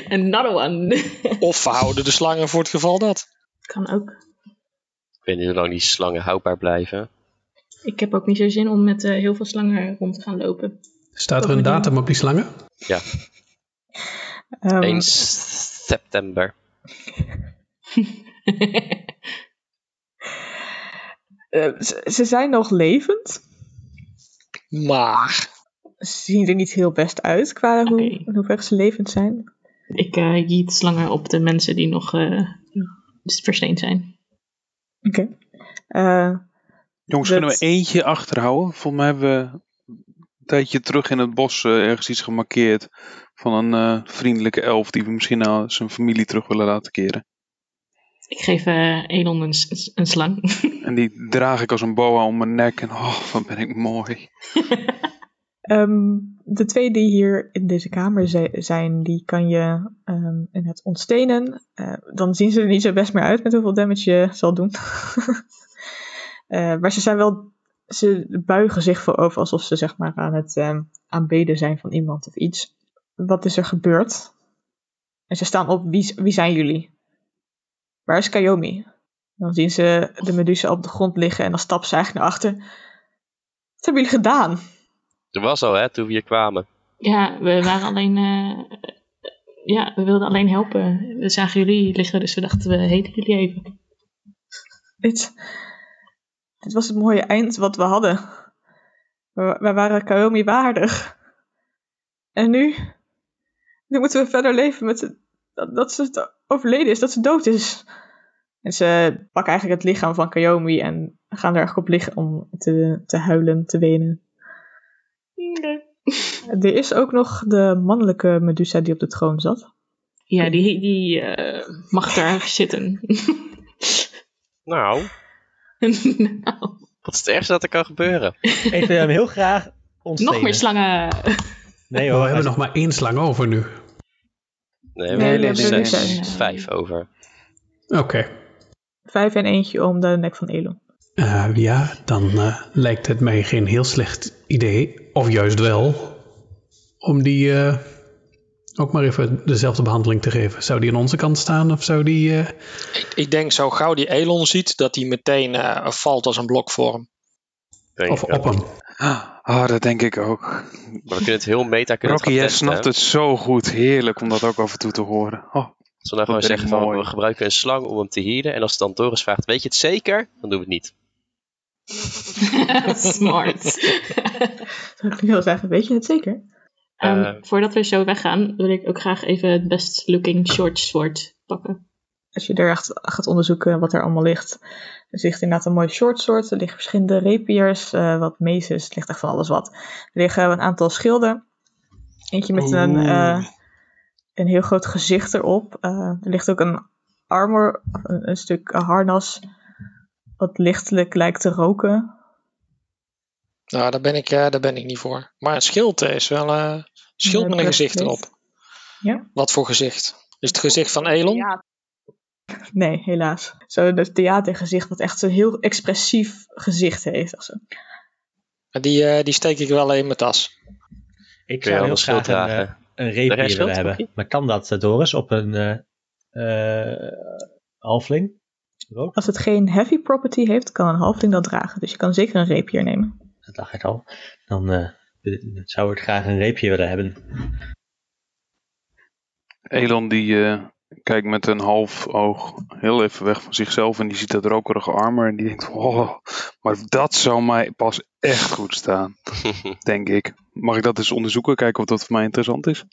Speaker 3: Another one. [LAUGHS]
Speaker 8: Of we houden de slangen voor het geval dat.
Speaker 3: kan ook.
Speaker 4: Ik weet niet hoe lang die slangen houdbaar blijven.
Speaker 3: Ik heb ook niet zo zin om met eh, heel veel slangen rond te gaan lopen.
Speaker 5: Staat er een datum op die slangen?
Speaker 1: Ehm,
Speaker 4: 1 s- september.
Speaker 1: [LAUGHS] eh, ze, ze zijn nog levend.
Speaker 8: Maar.
Speaker 1: Ze zien er niet heel best uit qua hoe,
Speaker 3: Oké.
Speaker 1: hoe ver ze levend zijn.
Speaker 3: ik eh jeet slangen op de mensen die nog eh, versteend zijn.
Speaker 1: Oké. Eh,
Speaker 7: Jongens,
Speaker 1: Dat-
Speaker 7: kunnen we eentje achterhouden? Volgens mij hebben we een tijdje terug in het bos eh, ergens iets gemarkeerd van een eh, vriendelijke elf die we misschien naar zijn familie terug willen laten keren.
Speaker 3: Ik geef eh Elon een, s- een slang. [LAUGHS]
Speaker 7: En die draag ik als een boa om mijn nek en oh, wat ben ik mooi.
Speaker 1: Ehm, de twee die hier in deze kamer ze- zijn, die kan je ehm in het ontstenen. Eh, dan zien ze er niet zo best meer uit met hoeveel damage je zal doen. [LAUGHS] Eh, maar ze zijn wel, ze buigen zich voorover alsof ze zeg maar aan het ehm, aanbeden zijn van iemand of iets. Wat is er gebeurd? En ze staan op, wie, z- wie zijn jullie? Waar is Kayomi? Dan zien ze de medusa op de grond liggen en dan stapt ze eigenlijk naar achter. Wat hebben jullie gedaan?
Speaker 4: Er was al, hè, toen we hier kwamen.
Speaker 3: Ja, we waren alleen. eh, ja, we wilden alleen helpen. We zagen jullie liggen, dus we dachten we heten jullie even.
Speaker 1: Dit, dit was het mooie eind wat we hadden. We, we waren Kaomi waardig. En nu? Nu moeten we verder leven met het- dat, dat ze overleden is, dat ze dood is. En ze pakken eigenlijk het lichaam van Kaomi en gaan er eigenlijk op liggen om te, te huilen, te wenen. Er is ook nog de mannelijke Medusa die op de troon zat.
Speaker 3: Ja, die, die eh, [LAUGHS] mag daar zitten.
Speaker 4: Nou,
Speaker 3: nou,
Speaker 4: wat is het ergste dat er kan gebeuren?
Speaker 9: Ik wil hem heel graag ontstenen.
Speaker 3: nog meer
Speaker 1: [LAUGHS]
Speaker 3: slangen.
Speaker 9: Nee
Speaker 5: we
Speaker 9: hoor,
Speaker 5: hebben nog maar één slang over nu.
Speaker 1: Nee,
Speaker 4: Nee, we
Speaker 1: nee, nee,
Speaker 4: hebben
Speaker 1: nee,
Speaker 3: nee.
Speaker 4: zes, vijf over.
Speaker 5: Oké.
Speaker 1: Vijf en eentje om de nek van Elon.
Speaker 5: Eh, ja, dan eh, lijkt het mij geen heel slecht idee, of juist wel, om die eh, ook maar even dezelfde behandeling te geven? Zou die aan onze kant staan of zou die... eh,
Speaker 8: Ik, ik denk zo gauw die Elon ziet, dat hij meteen eh, valt als een blokvorm.
Speaker 4: Denk
Speaker 5: of
Speaker 4: ik ook.
Speaker 5: op hem?
Speaker 7: Ah, dat denk ik ook.
Speaker 4: Maar we kunnen het heel meta kunnen
Speaker 7: Rocky,
Speaker 4: we
Speaker 7: jij
Speaker 4: het gaan testen,
Speaker 7: snapt
Speaker 4: hè.
Speaker 7: het zo goed. Heerlijk om dat ook af en toe te horen.
Speaker 4: Als
Speaker 7: Oh,
Speaker 4: we nou
Speaker 7: Dat
Speaker 4: gewoon
Speaker 7: ben ik
Speaker 4: zeggen van
Speaker 7: mooi.
Speaker 4: we gebruiken een slang om hem te healen. En als dan Doris vraagt, weet je het zeker? Dan doen we het
Speaker 3: [LAUGHS]
Speaker 4: niet.
Speaker 3: Smart.
Speaker 1: Zou ik nu wel zeggen, weet je het zeker?
Speaker 3: Ehm,
Speaker 4: Eh.
Speaker 3: voordat we zo weggaan, wil ik ook graag even het best looking short sword pakken.
Speaker 1: als je er echt gaat onderzoeken wat er allemaal ligt. Er ligt inderdaad een mooi shortsoort. Er liggen verschillende rapiers, eh, wat meces, er ligt echt van alles wat. Er liggen een aantal schilden. Eentje met een,
Speaker 8: Oeh.
Speaker 1: eh, een heel groot gezicht erop. Eh, er ligt ook een armor, een, een stuk harnas, wat lichtelijk lijkt te roken.
Speaker 8: Nou, daar ben ik, eh, daar ben ik niet voor. Maar een schild eh, is wel eh, een schild
Speaker 1: Ja,
Speaker 8: met een
Speaker 1: dat
Speaker 8: gezicht
Speaker 1: weet.
Speaker 8: erop.
Speaker 1: Ja.
Speaker 8: Wat voor gezicht? Is het gezicht van Elon?
Speaker 1: Nee, helaas. dus, Zo'n theatergezicht, wat echt zo'n heel expressief gezicht heeft. Als een-
Speaker 8: Die, eh, die steek ik wel in mijn tas.
Speaker 9: Ik
Speaker 4: Kun
Speaker 9: zou
Speaker 4: je wel
Speaker 9: heel
Speaker 4: een schild
Speaker 9: graag een,
Speaker 4: dragen.
Speaker 9: eh, een
Speaker 4: Daar
Speaker 9: rapier
Speaker 4: is schild,
Speaker 9: willen hebben.
Speaker 4: Rocky?
Speaker 9: Maar kan dat, eh, Doris, op een eh, eh, halfling? Ook?
Speaker 1: Als het geen heavy property heeft, kan een halfling dat dragen. Dus je kan zeker een rapier nemen.
Speaker 9: Dat dacht ik al. Dan eh, zou ik graag een reepje willen hebben.
Speaker 7: Elon die eh, kijkt met een half oog heel even weg van zichzelf en die ziet dat rokerige armor en die denkt, oh, maar dat zou mij pas echt goed
Speaker 4: [LAUGHS]
Speaker 7: staan, denk ik. Mag ik dat eens onderzoeken, kijken of dat voor mij interessant is?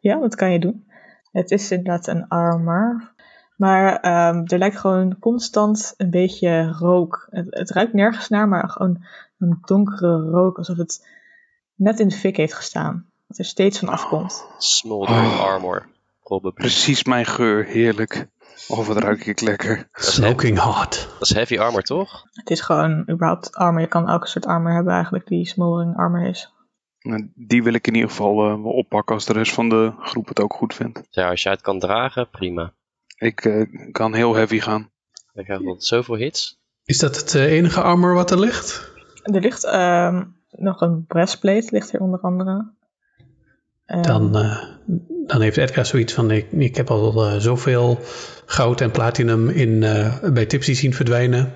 Speaker 1: Ja, dat kan je doen. Het is inderdaad een armor. Maar ehm, er lijkt gewoon constant een beetje rook. Het, het ruikt nergens naar, maar gewoon een donkere rook. Alsof het net in de fik heeft gestaan. Dat er steeds van afkomt.
Speaker 4: Smoldering
Speaker 7: Oh.
Speaker 4: armor. Probably.
Speaker 7: Precies mijn geur, heerlijk. Oh, wat ruik ik lekker.
Speaker 4: Dat is, heavy,
Speaker 5: Smoking hot.
Speaker 4: dat is heavy armor, toch?
Speaker 1: Het is gewoon überhaupt armor. Je kan elke soort armor hebben eigenlijk die smoldering armor is.
Speaker 7: Nou, Die wil ik in ieder geval eh, wel oppakken als de rest van de groep het ook goed vindt.
Speaker 4: Ja, als jij [LAUGHS] het kan dragen, prima.
Speaker 7: Ik eh, kan heel heavy gaan.
Speaker 4: Dan krijgen we zoveel hits.
Speaker 5: Is dat het eh, enige armor wat er ligt?
Speaker 1: Er ligt ehm, nog een breastplate, ligt hier onder andere. Ehm,
Speaker 5: Dan, eh, dan heeft Edgar zoiets van, ik, ik heb al eh, zoveel goud en platinum in, eh, bij Tipsy zien verdwijnen.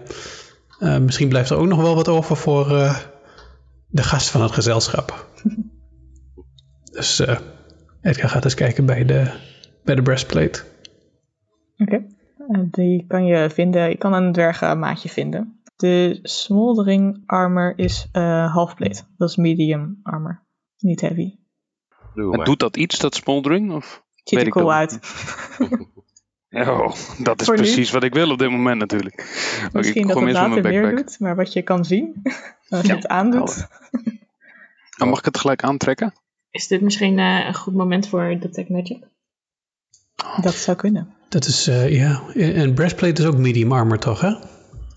Speaker 5: Eh, misschien blijft er ook nog wel wat over voor eh, de gast van het
Speaker 1: [LAUGHS]
Speaker 5: gezelschap. dus eh, Edgar gaat eens kijken bij de, bij de breastplate.
Speaker 1: Oké. Eh, die kan je vinden. Je kan een dwergenmaatje vinden. De smoldering armor is eh halfplate. Dat is medium armor. Niet heavy.
Speaker 4: Doe
Speaker 7: En
Speaker 4: maar.
Speaker 7: doet dat iets, dat smoldering? Of?
Speaker 1: Ziet
Speaker 7: Weet
Speaker 1: er
Speaker 7: ik
Speaker 1: cool
Speaker 7: ook
Speaker 1: uit.
Speaker 7: [LAUGHS] Oh, dat is
Speaker 1: Voor nu.
Speaker 7: precies wat ik wil op dit moment natuurlijk. Oké,
Speaker 1: Misschien dat
Speaker 7: gooi
Speaker 1: het
Speaker 7: hem
Speaker 1: later
Speaker 7: eerst met mijn
Speaker 1: meer
Speaker 7: backpack.
Speaker 1: doet. Maar wat je kan zien, [LAUGHS] als je het aandoet.
Speaker 7: Dan mag ik het gelijk aantrekken?
Speaker 3: Is dit misschien eh, een goed moment voor Detect Magic?
Speaker 1: Dat zou kunnen.
Speaker 5: Dat is, eh, ja, en breastplate is ook medium armor toch, hè?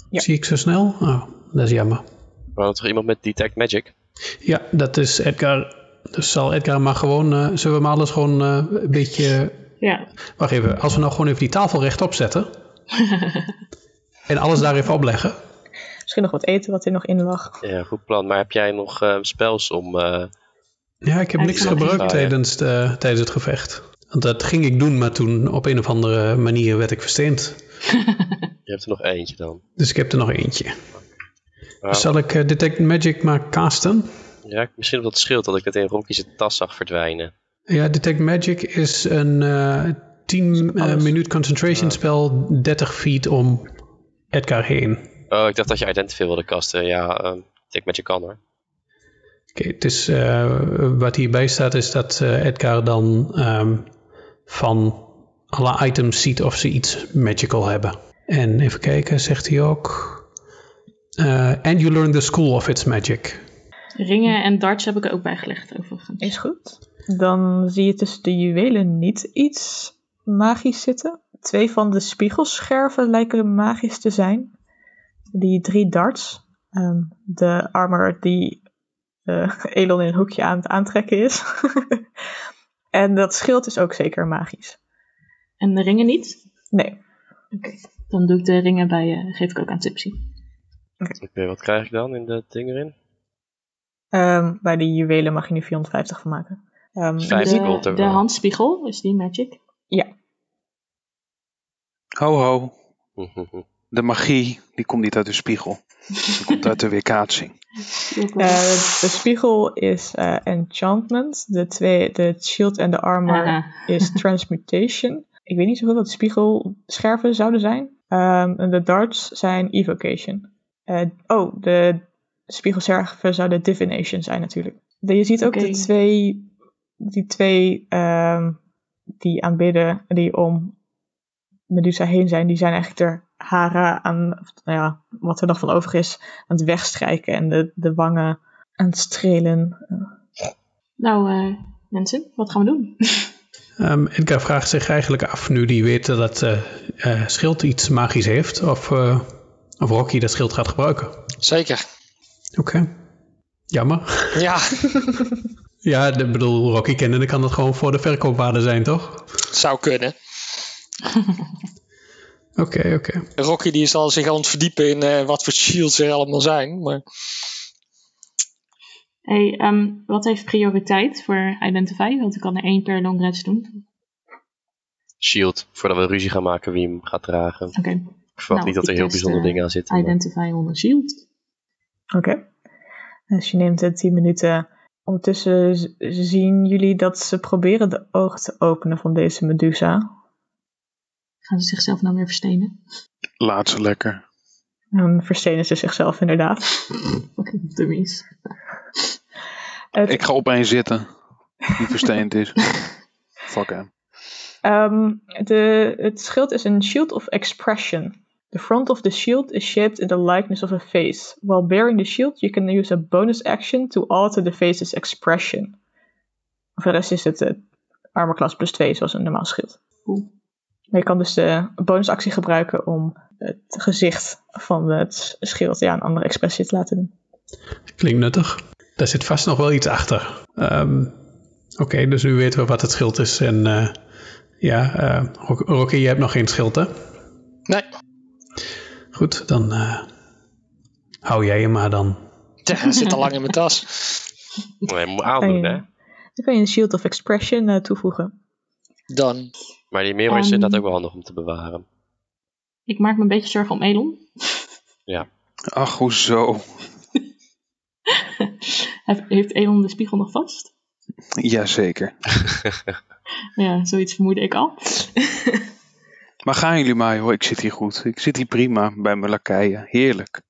Speaker 1: Ja.
Speaker 5: Zie ik zo snel? Oh, dat is jammer.
Speaker 4: We hadden toch iemand met Detect Magic?
Speaker 5: Ja, dat is Edgar. Dus zal Edgar maar gewoon, eh, zullen we maar alles gewoon eh, een beetje...
Speaker 3: Ja,
Speaker 5: Wacht even, als we nou gewoon even die tafel rechtop zetten. en alles daar even opleggen.
Speaker 1: Misschien nog wat eten wat er nog in lag.
Speaker 4: Ja, goed plan. Maar heb jij nog eh, spels om... eh,
Speaker 5: Ja, ik heb
Speaker 3: Ja, die
Speaker 5: niks
Speaker 3: is wel
Speaker 5: gebruikt
Speaker 4: echt waar, ja.
Speaker 5: tijdens, de, tijdens het gevecht. Want dat ging ik doen, maar toen op een of andere manier werd ik versteend.
Speaker 4: je hebt er nog eentje dan.
Speaker 5: Dus ik heb er nog eentje.
Speaker 4: Maar-
Speaker 5: Dus zal ik eh, Detect Magic maar casten?
Speaker 4: ja, ik- misschien op dat schild dat ik dat in Rocky's tas zag verdwijnen.
Speaker 5: Ja, Detect Magic is een eh 10 eh, minuut concentration spel, 30 feet om Edgar heen.
Speaker 4: Oh, ik dacht dat je Identify wilde kasten. Ja, ehm Detect Magic kan hoor.
Speaker 5: Oké, het is, eh, wat hierbij staat is dat eh, Edgar dan ehm, van alle items ziet of ze iets magical hebben. En even kijken, zegt hij ook. eh, and you learn the school of its magic.
Speaker 3: ringen en darts heb ik er ook bijgelegd overigens.
Speaker 1: Is goed. Dan zie je tussen de juwelen niet iets magisch zitten. Twee van de spiegelscherven lijken magisch te zijn. Die drie darts. ehm, de armor die eh, [LAUGHS] Elon in een hoekje aan het aantrekken is. [LAUGHS] en dat schild is ook zeker magisch.
Speaker 3: En de ringen niet?
Speaker 1: Nee,
Speaker 3: Oké. Dan doe ik de ringen bij, eh, geef ik ook aan Tipsy.
Speaker 4: Oké, wat krijg ik dan in dat ding erin?
Speaker 1: ehm, bij de juwelen mag je nu 450 van maken. Ehm,
Speaker 4: Vijf.
Speaker 1: dus-
Speaker 4: gold
Speaker 3: De, de
Speaker 4: erbij.
Speaker 3: handspiegel, is die magic?
Speaker 7: Ho ho, de magie die komt niet uit de spiegel. Die komt uit de weerkaatsing.
Speaker 1: eh, de spiegel is eh, enchantment. De, twee, de shield en de armor
Speaker 3: Aha.
Speaker 1: is transmutation. Ik weet niet zoveel wat spiegelscherven zouden zijn. Ehm, en de darts zijn evocation. Eh, oh, de spiegelscherven zouden divination zijn natuurlijk. De- je ziet ook de
Speaker 3: Oké.
Speaker 1: twee, die twee ehm, die aanbidden, die om Medusa heen zijn, die zijn eigenlijk er haren aan, of, nou ja, wat er nog van over is, aan het wegstrijken en de, de wangen aan het strelen.
Speaker 3: Nou, eh, mensen, wat gaan we doen?
Speaker 5: Ehm, Edgar vraagt zich eigenlijk af, nu die weet dat eh eh, schild iets magisch heeft, of, eh, of Rocky dat schild gaat gebruiken. Oké.
Speaker 9: eh,
Speaker 8: Zeker.
Speaker 5: Jammer. [LAUGHS]
Speaker 8: Ja, [LAUGHS]
Speaker 5: Ja, ik bedoel, Rocky kennende kan dat gewoon voor de verkoopwaarde zijn, toch?
Speaker 8: het zou
Speaker 1: [LAUGHS]
Speaker 8: kunnen.
Speaker 5: Oké, oké.
Speaker 8: Rocky die is al zich aan het verdiepen in eh, wat voor shields er allemaal zijn. Maar [LAUGHS]
Speaker 3: Hey, ehm, wat heeft prioriteit voor Identify? Want ik kan er één per long rest doen.
Speaker 4: Shield, voordat we ruzie gaan maken wie hem gaat dragen.
Speaker 3: Oké,
Speaker 4: Ik verwacht
Speaker 3: Nou,
Speaker 4: niet dat er
Speaker 3: ik
Speaker 4: heel
Speaker 3: test,
Speaker 4: bijzondere
Speaker 3: eh,
Speaker 4: dingen aan zitten. maar-
Speaker 3: Identify onder shield.
Speaker 1: Oké. Dus je neemt het 10 minuten. Ondertussen z- zien jullie dat ze proberen de ogen te openen van deze Medusa.
Speaker 3: Gaan ze zichzelf nou weer verstenen?
Speaker 7: Laat ze lekker.
Speaker 1: En verstenen ze zichzelf inderdaad.
Speaker 3: [LAUGHS] Fucking dummies.
Speaker 1: Het,
Speaker 7: Ik ga op een zitten. Die versteend
Speaker 1: [LAUGHS]
Speaker 7: is. Fuck hem.
Speaker 1: ehm, de, het schild is een shield of expression. The front of the shield is shaped in the likeness of a face. While bearing the shield, you can use a bonus action to alter the face's expression. Voor de rest is het eh, armor class plus 2, zoals een normaal schild.
Speaker 3: Cool.
Speaker 1: Maar je kan dus de bonusactie gebruiken om het gezicht van het schild ja, een andere expressie te laten doen.
Speaker 5: Klinkt nuttig. Daar zit vast nog wel iets achter. Ehm, Oké, dus nu weten we wat het schild is. En eh, ja, eh, Rock- Rocky, je hebt nog geen schild, hè?
Speaker 8: nee,
Speaker 5: Goed, dan eh, hou jij je maar dan.
Speaker 8: dat [LAUGHS] zit al lang in mijn tas.
Speaker 4: Nee, Oh, moet
Speaker 1: Kan
Speaker 4: aandoen,
Speaker 1: je-
Speaker 4: hè?
Speaker 1: Dan kan je een shield of expression eh, toevoegen.
Speaker 8: Dan.
Speaker 4: Maar die mirror is
Speaker 3: Ehm.
Speaker 4: inderdaad ook wel handig om te bewaren.
Speaker 3: Ik maak me een beetje zorgen om Elon.
Speaker 7: Ach, hoezo?
Speaker 3: Hef- Heeft Elon de spiegel nog vast?
Speaker 4: [LAUGHS]
Speaker 7: Jazeker.
Speaker 3: Ja, zoiets vermoedde ik al.
Speaker 7: Maar gaan jullie maar, joh. Ik zit hier goed. Ik zit hier prima bij mijn lakeien. Heerlijk.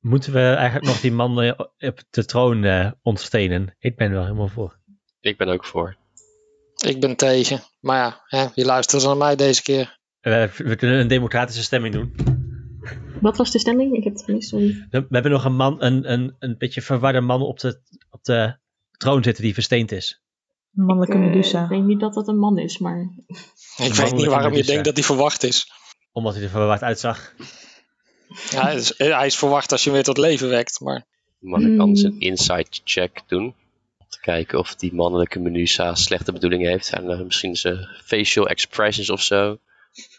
Speaker 9: Moeten we eigenlijk nog die man eh, op de troon eh, ontstenen? Ik ben er wel helemaal voor.
Speaker 4: Ik ben ook voor.
Speaker 8: Ik ben tegen. Maar ja, hè, wie luistert naar mij deze keer?
Speaker 9: We, we kunnen een democratische stemming doen.
Speaker 3: Wat was de stemming? Ik heb het gemist, sorry.
Speaker 9: We hebben nog een man, een, een, een beetje verwarde man op de, op de troon zitten die versteend is.
Speaker 1: Een mannelijke
Speaker 3: Eh,
Speaker 1: Medusa.
Speaker 3: Ik denk niet dat dat een man is, maar...
Speaker 8: Ik weet niet
Speaker 9: mannelijke
Speaker 8: waarom je
Speaker 9: Medusa.
Speaker 8: denkt dat hij verwacht is.
Speaker 9: Omdat hij er verward uitzag.
Speaker 8: Ja, hij is. eh, Hij is verwacht als je hem weer tot leven wekt. Maar
Speaker 4: Mag ik
Speaker 3: Hmm.
Speaker 4: anders een insight check doen? Om te kijken of die mannelijke Menusa slechte bedoelingen heeft. En eh, misschien zijn facial expressions of zo.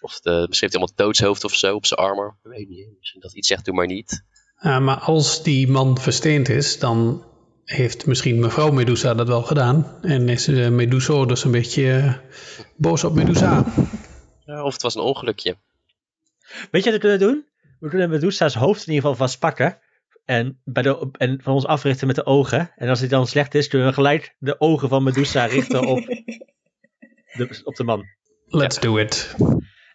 Speaker 4: Of de, misschien heeft hij allemaal doodshoofd of zo op zijn armor. Ik weet niet. Misschien dat iets zegt, doe maar niet.
Speaker 5: Ah, maar als die man versteend is, dan heeft misschien mevrouw Medusa dat wel gedaan. En is eh, Meduso dus een beetje eh, boos op Medusa.
Speaker 4: Ja, of het was een ongelukje.
Speaker 9: Weet je wat we kunnen doen? We kunnen Medusa's hoofd in ieder geval vastpakken. En, bij de, en van ons africhten met de ogen. En als hij dan slecht is, kunnen we gelijk de ogen van Medusa richten
Speaker 1: [LAUGHS]
Speaker 9: op, de, op de man.
Speaker 5: Let's do it.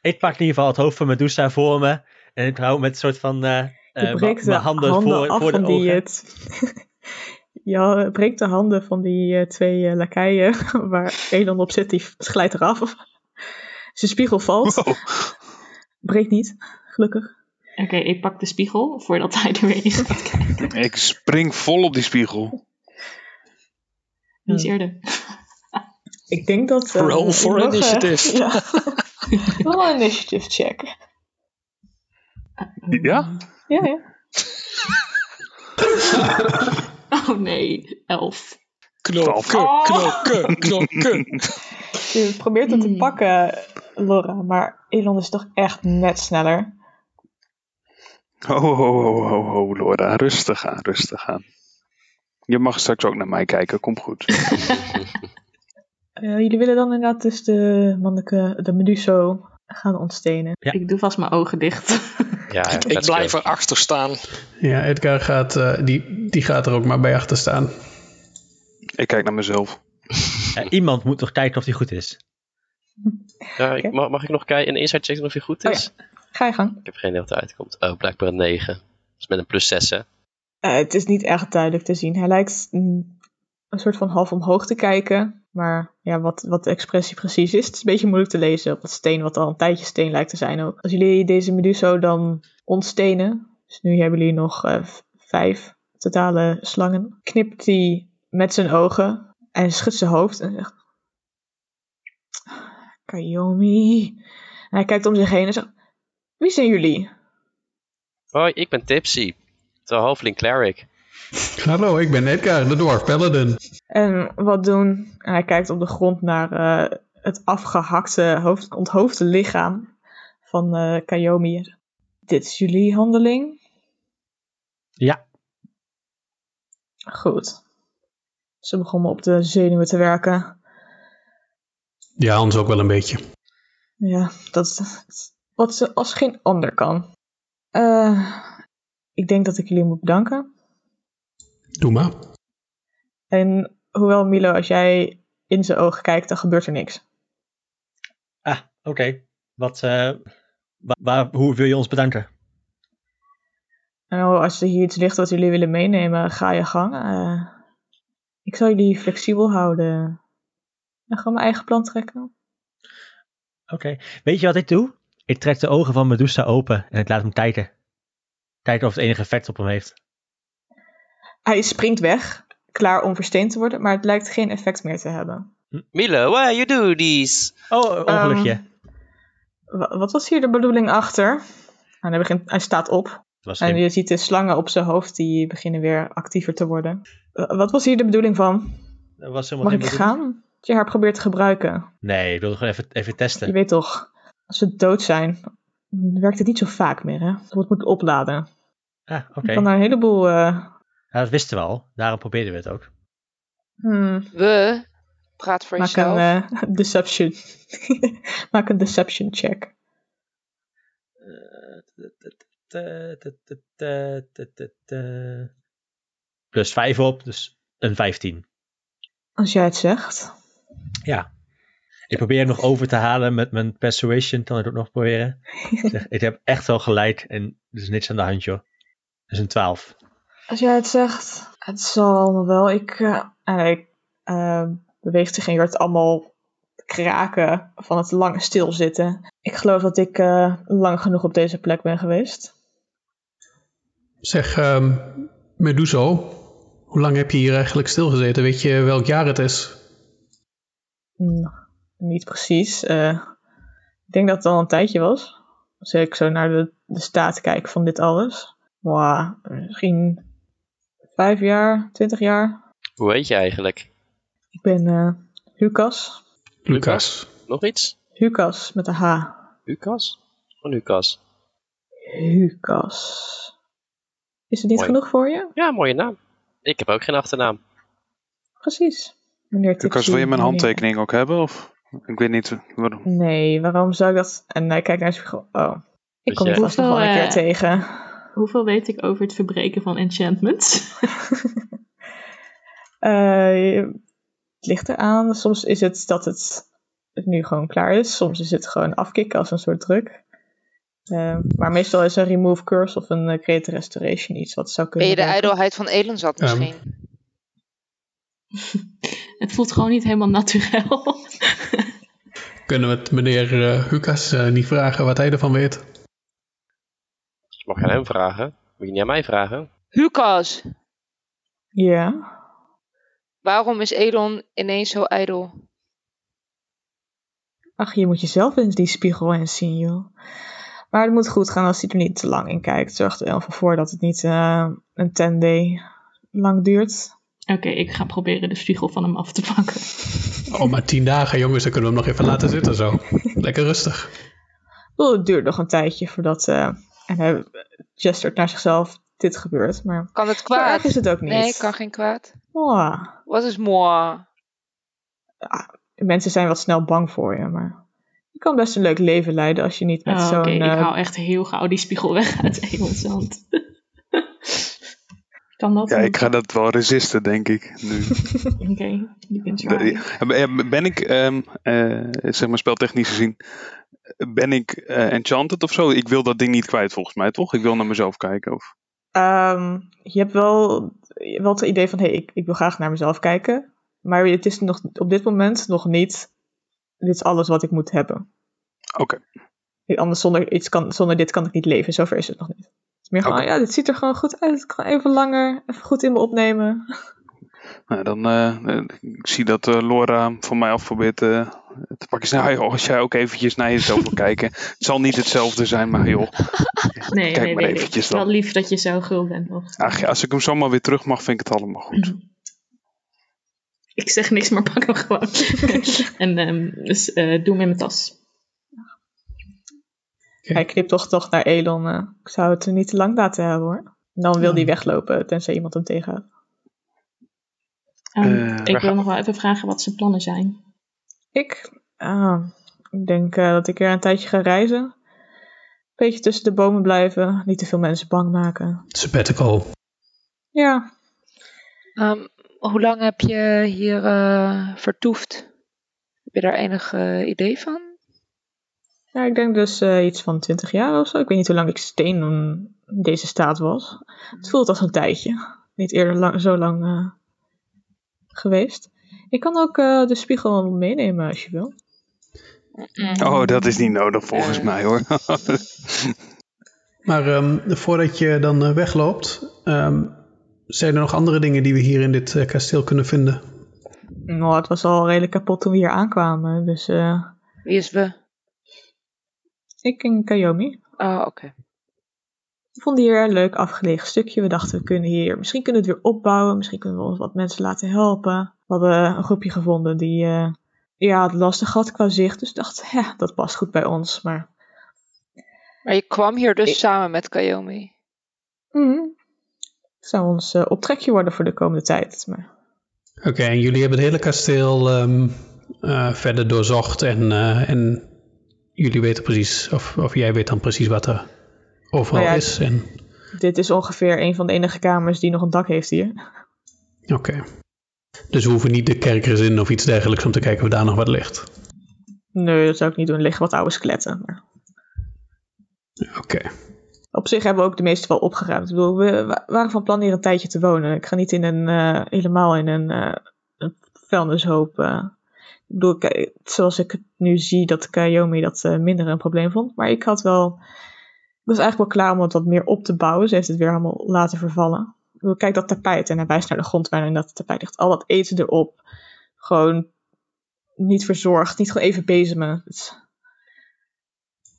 Speaker 9: Ik pak in ieder geval het hoofd van Medusa voor me. En ik hou met een soort van eh, eh,
Speaker 1: Je
Speaker 9: mijn
Speaker 1: breekt de
Speaker 9: mijn
Speaker 1: handen,
Speaker 9: handen, voor,
Speaker 1: af
Speaker 9: voor de
Speaker 1: van
Speaker 9: ogen.
Speaker 1: die... eh, Het, [LAUGHS] je breekt de handen van die eh, twee eh, lakeien [LAUGHS] waar Elon op zit, die glijdt eraf. [LAUGHS] Zijn spiegel valt.
Speaker 7: Wow.
Speaker 1: Breekt niet, gelukkig.
Speaker 3: Oké, ik pak de spiegel voordat hij er
Speaker 1: [LAUGHS]
Speaker 3: weer in gaat kijken.
Speaker 7: Ik spring vol op die spiegel.
Speaker 3: Die is eerder.
Speaker 1: Ik denk dat... eh,
Speaker 8: Roll
Speaker 1: ik
Speaker 8: for
Speaker 1: mag, eh,
Speaker 8: initiative.
Speaker 1: ja. [LAUGHS] Roll an initiative check.
Speaker 7: Ja?
Speaker 1: Ja, ja.
Speaker 3: [LAUGHS] Oh nee, elf.
Speaker 8: knokken, knokken, knokken.
Speaker 1: Je probeert het te
Speaker 3: Mm.
Speaker 1: pakken, Laura, maar Elon is toch echt net sneller.
Speaker 7: Ho, ho, ho, ho, ho, Laura. Rustig aan, rustig aan. Je mag straks ook naar mij kijken, komt goed.
Speaker 1: Eh, jullie willen dan inderdaad dus de manneke, de Meduso, gaan ontstenen.
Speaker 9: Ja.
Speaker 3: Ik doe vast mijn ogen dicht.
Speaker 4: ja,
Speaker 8: Ik blijf
Speaker 4: er.
Speaker 8: erachter staan.
Speaker 5: Ja, Edgar gaat, eh, die, die gaat er ook maar bij achter staan.
Speaker 7: Ik kijk naar mezelf.
Speaker 9: Eh, iemand moet nog kijken of die goed is.
Speaker 4: Ja, ik, mag, mag ik nog kijken, een insight check doen of je goed
Speaker 1: Oh
Speaker 4: is?
Speaker 1: Ga je gang.
Speaker 4: Ik heb geen idee wat eruit komt. Oh, blijkbaar een 9. Dat is met een plus 6, hè?
Speaker 1: Eh, het is niet echt duidelijk te zien. Hij lijkt mm, een soort van half omhoog te kijken. Maar ja, wat, wat de expressie precies is, het is een beetje moeilijk te lezen op dat steen, wat al een tijdje steen lijkt te zijn ook. Als jullie deze Meduso dan ontstenen, dus nu hebben jullie nog eh, v- vijf totale slangen, knipt hij met zijn ogen en schudt zijn hoofd en zegt... Kayomi. En hij kijkt om zich heen en zegt... Wie zijn jullie?
Speaker 4: Hoi, ik ben Tipsy. De halfling cleric.
Speaker 5: Hallo, ik ben Edgar, de dwarf paladin.
Speaker 1: En wat doen? En hij kijkt op de grond naar eh, het afgehakte, hoofd, onthoofde lichaam van eh Kayomi. Dit is jullie handeling?
Speaker 9: Ja.
Speaker 1: Goed. Ze begonnen op de zenuwen te werken.
Speaker 5: Ja, ons ook wel een beetje.
Speaker 1: Ja, dat is wat ze als geen ander kan. Eh, ik denk dat ik jullie moet bedanken.
Speaker 5: Doe maar.
Speaker 1: En hoewel Milo, als jij in zijn ogen kijkt, dan gebeurt er niks.
Speaker 9: Ah, oké. Wat, eh, wa- waar, hoe wil je ons bedanken?
Speaker 1: Nou, als er hier iets ligt wat jullie willen meenemen, ga je gang. Eh, ik zal jullie flexibel houden. En gewoon mijn eigen plan trekken.
Speaker 9: Oké. Weet je wat ik doe? Ik trek de ogen van Medusa open en ik laat hem kijken. Kijken of het enige effect op hem heeft.
Speaker 1: Hij springt weg, klaar om versteend te worden, maar het lijkt geen effect meer te hebben.
Speaker 4: Milo, why you do this?
Speaker 9: Oh, ongelukje.
Speaker 1: Ehm, Wa- wat was hier de bedoeling achter? En hij, begint, hij staat op
Speaker 9: Het was
Speaker 1: en
Speaker 9: geen-
Speaker 1: je ziet de slangen op zijn hoofd die beginnen weer actiever te worden. Wa- wat was hier de bedoeling van?
Speaker 9: er was helemaal
Speaker 1: Mag
Speaker 9: geen
Speaker 1: ik
Speaker 9: bedoeling.
Speaker 1: gaan? Dat je haar probeert te gebruiken.
Speaker 9: Nee, ik wilde gewoon even, even
Speaker 1: Je
Speaker 9: testen.
Speaker 1: weet toch, als ze dood zijn, werkt het niet zo vaak meer hè. Het wordt moet opladen.
Speaker 9: Ah, oké.
Speaker 1: Ik kan daar een heleboel. eh,
Speaker 9: Ja, dat wisten we al. Daarom probeerden we het ook.
Speaker 1: hmm,
Speaker 6: We, praat voor
Speaker 1: maak een
Speaker 6: jezelf.
Speaker 1: eh, [LAUGHS] deception. maak een deception check.
Speaker 9: Eh, Plus 5 op, dus een 15.
Speaker 1: Als jij het zegt.
Speaker 9: Ik probeer hem nog over te halen met mijn persuasion. Kan ik ook nog proberen. Ik zeg, ik heb echt wel gelijk en er is niks aan de hand, joh. Dat is een 12.
Speaker 1: Als jij het zegt. Het zal allemaal wel. Ik. eh, en hij eh, beweegt zich en je hoort allemaal kraken van het lange stilzitten. Ik geloof dat ik eh, lang genoeg op deze plek ben geweest.
Speaker 5: Zeg, ehm Meduso, hoe lang heb je hier eigenlijk stilgezeten? Weet je welk jaar het is?
Speaker 1: Hmm, niet precies. eh, ik denk dat het al een tijdje was. Als ik zo naar de, de staat kijk van dit alles. Mwah, misschien vijf jaar, twintig jaar.
Speaker 4: Hoe heet je eigenlijk?
Speaker 1: Ik ben eh Lucas.
Speaker 5: Lucas.
Speaker 4: Nog iets?
Speaker 1: Lucas met een H.
Speaker 4: Lucas? Van Lucas.
Speaker 1: Lucas. Is het niet
Speaker 4: Mooi.
Speaker 1: genoeg voor je?
Speaker 4: Ja, mooie naam. Ik heb ook geen achternaam.
Speaker 1: Precies. Meneer
Speaker 7: Lucas,
Speaker 1: Tipsy,
Speaker 7: wil je mijn
Speaker 1: meneer-
Speaker 7: handtekening ook hebben? Of? Ik weet niet waarom.
Speaker 1: Nee, waarom zou ik dat... En hij kijkt naar zijn spiegel. Oh, ik
Speaker 4: Weet
Speaker 1: kom je
Speaker 4: jij-
Speaker 1: vast nog wel een
Speaker 3: Hoeveel,
Speaker 1: keer
Speaker 3: eh,
Speaker 1: tegen.
Speaker 3: Hoeveel weet ik over het verbreken van enchantments?
Speaker 1: [LAUGHS] Eh, het ligt eraan. Soms is het dat het nu gewoon klaar is. Soms is het gewoon afkicken als een soort druk. Eh, maar meestal is een remove curse of een eh, create restoration iets wat zou
Speaker 6: Ben
Speaker 1: kunnen.
Speaker 6: je de
Speaker 1: werken.
Speaker 6: ijdelheid van Elenzat
Speaker 5: Ehm.
Speaker 6: misschien?
Speaker 3: het voelt gewoon niet helemaal naturel.
Speaker 5: Kunnen we het meneer eh, Lucas eh, niet vragen wat hij ervan weet?
Speaker 4: Mag Dus je aan hem vragen? Moet je niet aan mij vragen?
Speaker 6: Lucas,
Speaker 1: Ja.
Speaker 6: waarom is Elon ineens zo ijdel?
Speaker 1: Ach, je moet jezelf in die spiegel eens zien, joh. Maar het moet goed gaan als hij er niet te lang in kijkt. Zorg er wel voor voor dat het niet eh, een 10 day lang duurt.
Speaker 3: Oké, ik ga proberen de spiegel van hem af te pakken.
Speaker 5: Oh, maar tien dagen, jongens, dan kunnen we hem nog even laten zitten zo. Lekker rustig.
Speaker 1: Ik bedoel, het duurt nog een tijdje voordat. eh, en hij gestert naar zichzelf dit gebeurt. Maar
Speaker 6: Kan het
Speaker 1: zo
Speaker 6: kwaad?
Speaker 1: erg is het ook niet.
Speaker 6: nee, kan geen kwaad.
Speaker 1: Ah,
Speaker 6: Wat is moi?
Speaker 1: mensen zijn wel snel bang voor je, maar je kan best een leuk leven leiden als je niet met
Speaker 3: Oh, Oké,
Speaker 1: zo'n...
Speaker 3: ik
Speaker 1: eh,
Speaker 3: haal echt heel gauw die spiegel weg uit Engels. Want... [LAUGHS] kan
Speaker 1: [LAUGHS]
Speaker 3: dat?
Speaker 7: Ja,
Speaker 3: niet?
Speaker 7: ik ga dat wel resisten, denk ik, nu.
Speaker 3: Oké, you can try.
Speaker 7: De- ja, Ben ik, ehm, eh, zeg maar speltechnisch gezien, ben ik eh, enchanted of zo? Ik wil dat ding niet kwijt volgens mij, toch? Ik wil naar mezelf kijken. Of...
Speaker 1: Ehm, je hebt wel, je hebt wel het idee van, hé, hey, ik, ik wil graag naar mezelf kijken. Maar het is nog, op dit moment nog niet, dit is alles wat ik moet hebben.
Speaker 7: Oké,
Speaker 1: Anders zonder, iets kan, zonder dit kan ik niet leven, zover is het nog niet. Het is meer gewoon,
Speaker 7: Oké.
Speaker 1: ja, dit ziet er gewoon goed uit. Ik kan even langer, even goed in me opnemen.
Speaker 7: nou dan eh, eh, ik zie dat eh, Laura van mij af probeert eh, te pakken. Nou joh, als jij ook eventjes naar jezelf wil kijken. Het zal niet hetzelfde zijn, maar joh.
Speaker 3: nee,
Speaker 7: Kijk
Speaker 3: nee,
Speaker 7: maar
Speaker 3: nee, nee.
Speaker 7: eventjes
Speaker 3: Wel
Speaker 7: dan.
Speaker 3: lief dat je zo gul bent nog.
Speaker 7: Ach, ja, als ik hem zomaar weer terug mag, vind ik het allemaal goed.
Speaker 3: Ik zeg niks, maar pak hem
Speaker 1: [LAUGHS]
Speaker 3: gewoon. en ehm, dus, eh, doe hem in mijn tas.
Speaker 1: Hij knipt toch toch naar Elon. eh, ik zou het niet te lang laten hebben hoor. En Dan
Speaker 7: Hmm.
Speaker 1: wil hij weglopen, tenzij iemand hem tegenhoudt.
Speaker 3: Ehm,
Speaker 7: Eh, waar
Speaker 3: ik wil
Speaker 7: gaan-
Speaker 3: nog wel even vragen wat zijn plannen zijn.
Speaker 1: Ik, ah, ik denk eh, dat ik weer een tijdje ga reizen. Beetje tussen de bomen blijven, niet te veel mensen bang maken.
Speaker 5: Sabbatical.
Speaker 1: Ja,
Speaker 6: Ehm, hoe lang heb je hier eh, vertoefd? Heb je daar enig eh, idee van?
Speaker 1: ja ik denk dus eh, iets van 20 jaar of zo. Ik weet niet hoe lang ik steen in deze staat was. Het voelt als een tijdje. Niet eerder lang, zo lang eh, geweest. Ik kan ook eh, de spiegel meenemen als je wil.
Speaker 7: Oh, dat is niet nodig volgens
Speaker 6: Eh.
Speaker 7: mij [LAUGHS] hoor.
Speaker 5: Maar ehm, voordat je dan eh, wegloopt, ehm, zijn er nog andere dingen die we hier in dit eh, kasteel kunnen vinden?
Speaker 1: Nou, het was al redelijk kapot toen we hier aankwamen. Dus eh,
Speaker 6: Wie is we?
Speaker 1: ik en Kayomi.
Speaker 6: Oh, oké.
Speaker 1: We vonden hier een leuk afgelegen stukje. We dachten, we kunnen hier, misschien kunnen we het weer opbouwen. Misschien kunnen we ons wat mensen laten helpen. We hadden een groepje gevonden die eh, ja, het lastig had qua zicht. Dus dachten, hè, dat past goed bij ons. Maar
Speaker 6: Maar je kwam hier dus
Speaker 1: Ik-
Speaker 6: samen met Kayomi.
Speaker 1: mm, het zou ons eh, optrekje worden voor de komende tijd. Maar
Speaker 5: Oké, en jullie hebben het hele kasteel ehm, eh, verder doorzocht en, eh, en jullie weten precies, of, of jij weet dan precies wat er overal
Speaker 1: Nou ja,
Speaker 5: is. En,
Speaker 1: dit is ongeveer een van de enige kamers die nog een dak heeft hier.
Speaker 5: Oké. Dus we hoeven niet de kerkers in of iets dergelijks om te kijken of daar nog wat ligt.
Speaker 1: Nee, dat zou ik niet doen. Er liggen wat oude skeletten. Maar
Speaker 5: Oké.
Speaker 1: op zich hebben we ook de meeste wel opgeruimd. Ik bedoel, we wa- waren van plan hier een tijdje te wonen. Ik ga niet in een, eh, helemaal in een, eh, een vuilnishoop. eh. Ik bedoel, ik- zoals ik het nu zie, dat Kayomi dat eh, minder een probleem vond. Maar ik had wel. Ik was eigenlijk wel klaar om het wat meer op te bouwen. Ze heeft het weer helemaal laten vervallen. Ik bedoel, kijk dat tapijt en hij wijst naar de grond waarin dat tapijt ligt. Al dat eten erop. Gewoon niet verzorgd. Niet gewoon even bezemen. Het is-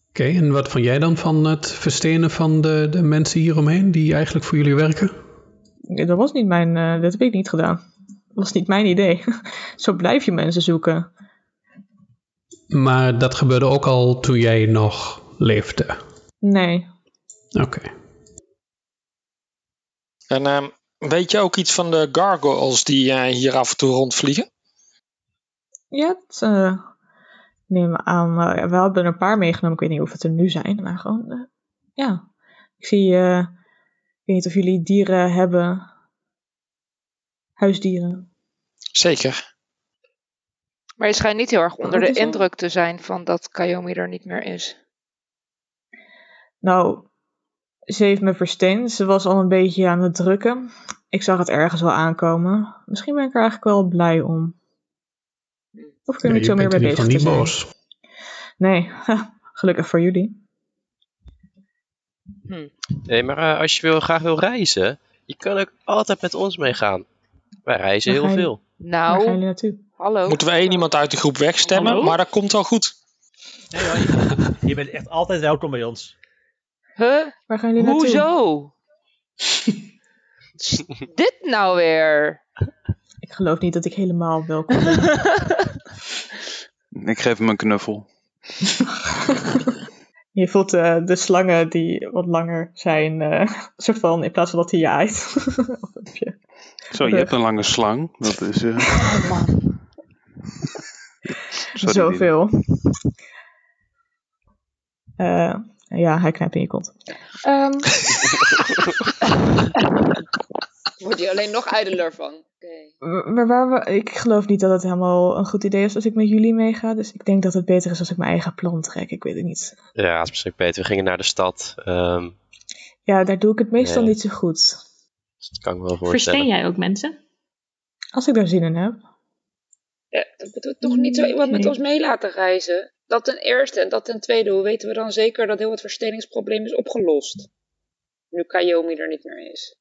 Speaker 5: Oké, en wat vond jij dan van het verstenen van de, de mensen hieromheen die eigenlijk voor jullie werken?
Speaker 1: Nee, dat was niet mijn. eh, dat heb ik niet gedaan. Dat was niet mijn idee. [LAUGHS] Zo blijf je mensen zoeken.
Speaker 5: Maar dat gebeurde ook al toen jij nog leefde.
Speaker 1: Nee.
Speaker 5: Oké.
Speaker 8: En ehm, weet je ook iets van de gargoyles die eh, hier af en toe rondvliegen?
Speaker 1: Ja, het, eh, ik neem aan. eh, we hadden er een paar meegenomen. Ik weet niet of het er nu zijn. Maar gewoon. eh, ja. Ik zie. eh, ik weet niet of jullie dieren hebben. Huisdieren.
Speaker 8: Zeker.
Speaker 6: Maar je schijnt niet heel erg onder
Speaker 1: Wat
Speaker 6: de
Speaker 1: is dat?
Speaker 6: indruk te zijn van dat Kayomi er niet meer is.
Speaker 1: Nou, ze heeft me versteend. Ze was al een beetje aan het drukken. Ik zag het ergens wel aankomen. Misschien ben ik er eigenlijk wel blij om. Of ik er
Speaker 5: Ja,
Speaker 1: niet
Speaker 5: je
Speaker 1: zo meer
Speaker 5: bent
Speaker 1: mee
Speaker 5: in ieder
Speaker 1: bezig te
Speaker 5: geval niet
Speaker 1: zijn.
Speaker 5: boos.
Speaker 1: Nee, [LAUGHS] gelukkig voor jullie.
Speaker 4: Nee, maar eh, als je wil, graag wil reizen, je kan ook altijd met ons meegaan. Wij reizen
Speaker 1: Waar
Speaker 4: heel
Speaker 1: ga je-
Speaker 4: veel.
Speaker 1: Waar gaan
Speaker 6: Nou,
Speaker 1: jullie naartoe?
Speaker 6: hallo.
Speaker 1: Oh.
Speaker 8: Moeten we één iemand uit de groep wegstemmen,
Speaker 3: Hallo?
Speaker 8: maar dat komt wel goed.
Speaker 9: Nee, hoor, je- je bent echt altijd welkom bij ons.
Speaker 6: Huh?
Speaker 1: Waar gaan jullie naartoe?
Speaker 6: Hoezo?
Speaker 9: [LAUGHS]
Speaker 6: Is Dit nou weer?
Speaker 1: Ik geloof niet dat ik helemaal
Speaker 6: [LAUGHS]
Speaker 1: welkom ben.
Speaker 7: Ik geef hem een knuffel.
Speaker 1: Je voelt eh, de slangen die wat langer zijn, eh, soort van in plaats van dat hij je eit. [LAUGHS] Of heb je-
Speaker 10: Zo, je hebt een lange slang. Dat is. eh,
Speaker 7: [LAUGHS]
Speaker 6: Oh man.
Speaker 10: sorry, Lien.
Speaker 1: Zoveel. Eh, ja, hij knijpt in je kont.
Speaker 11: [LAUGHS]
Speaker 6: Ehm,
Speaker 11: Word je alleen nog ijdeler van. Oké.
Speaker 1: Maar waar we, ik geloof niet dat het helemaal een goed idee is als ik met jullie meega. Dus ik denk dat het beter is als ik mijn eigen plan trek. Ik weet het niet.
Speaker 4: Ja, dat is misschien beter. We gingen naar de stad. Ehm
Speaker 1: Ja, daar doe ik het meestal
Speaker 4: Nee.
Speaker 1: niet zo goed.
Speaker 4: dat kan ik me wel
Speaker 3: Versteen
Speaker 4: voorstellen.
Speaker 3: jij ook mensen?
Speaker 1: Als ik daar zin in heb.
Speaker 11: Ja, dat bedoelt toch niet zo iemand met
Speaker 3: Nee.
Speaker 11: ons mee laten reizen. Dat ten eerste. En dat ten tweede. Hoe weten we dan zeker dat heel het versteningsprobleem is opgelost? Nu Kayomi er niet meer is.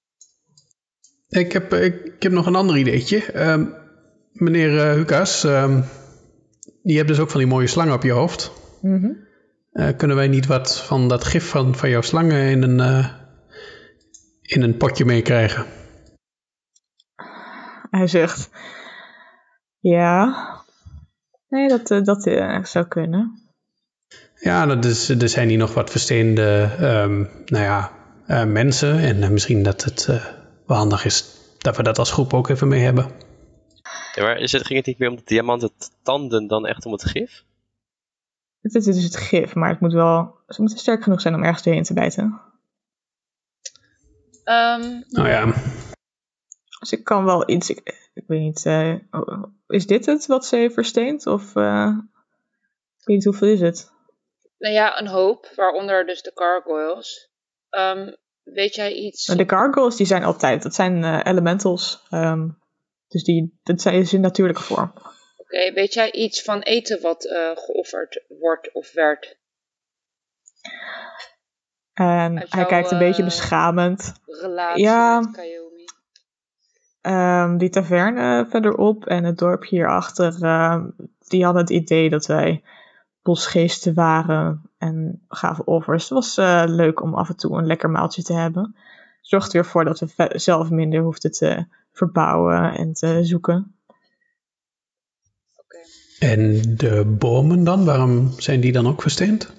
Speaker 5: Ik heb, eh, ik, ik heb nog een ander ideetje. Ehm, meneer eh, Hukas, ehm, je hebt dus ook van die mooie slangen op je hoofd.
Speaker 1: Mhm.
Speaker 5: Eh, kunnen wij niet wat van dat gif van, van jouw slangen in een, eh, in een potje meekrijgen?
Speaker 1: Hij zegt: Ja. Nee, dat, eh, dat eh, zou kunnen.
Speaker 5: Ja, dat is, er zijn hier nog wat versteende ehm, nou ja, eh, mensen. En eh, misschien dat het eh, wel handig is dat we dat als groep ook even mee hebben.
Speaker 4: Ja, maar is het, ging het niet meer om de diamanten t- tanden dan echt om het gif?
Speaker 1: Dit is dus het gif, maar het moet wel. Ze moeten sterk genoeg zijn om ergens doorheen te bijten.
Speaker 11: Ehm,
Speaker 1: Oh
Speaker 5: Nou ja,
Speaker 1: Dus ik kan wel iets. Ik, ik weet niet. eh, oh, is dit het wat ze heeft versteend? Of. eh, ik weet niet hoeveel is het.
Speaker 11: nou ja, een hoop. Waaronder dus de gargoyles. Ehm, weet jij iets?
Speaker 1: Maar Nou, De gargoyles die zijn altijd. Dat zijn eh, elementals. ehm, dus die, dat zijn is in natuurlijke vorm.
Speaker 11: Oké, weet jij iets van eten wat eh, geofferd wordt of werd?
Speaker 1: En
Speaker 11: Uit
Speaker 1: hij
Speaker 11: jouw,
Speaker 1: kijkt een beetje
Speaker 11: eh,
Speaker 1: beschamend.
Speaker 11: Relatie
Speaker 1: Ja.
Speaker 11: met Kayomi.
Speaker 1: Ehm, die taverne verderop en het dorp hierachter, ehm, die hadden het idee dat wij bosgeesten waren en gaven offers. Het was eh, leuk om af en toe een lekker maaltje te hebben. Zorgde weer voor dat we ve- zelf minder hoefden te verbouwen en te zoeken.
Speaker 5: en de bomen dan? Waarom zijn die dan ook versteend?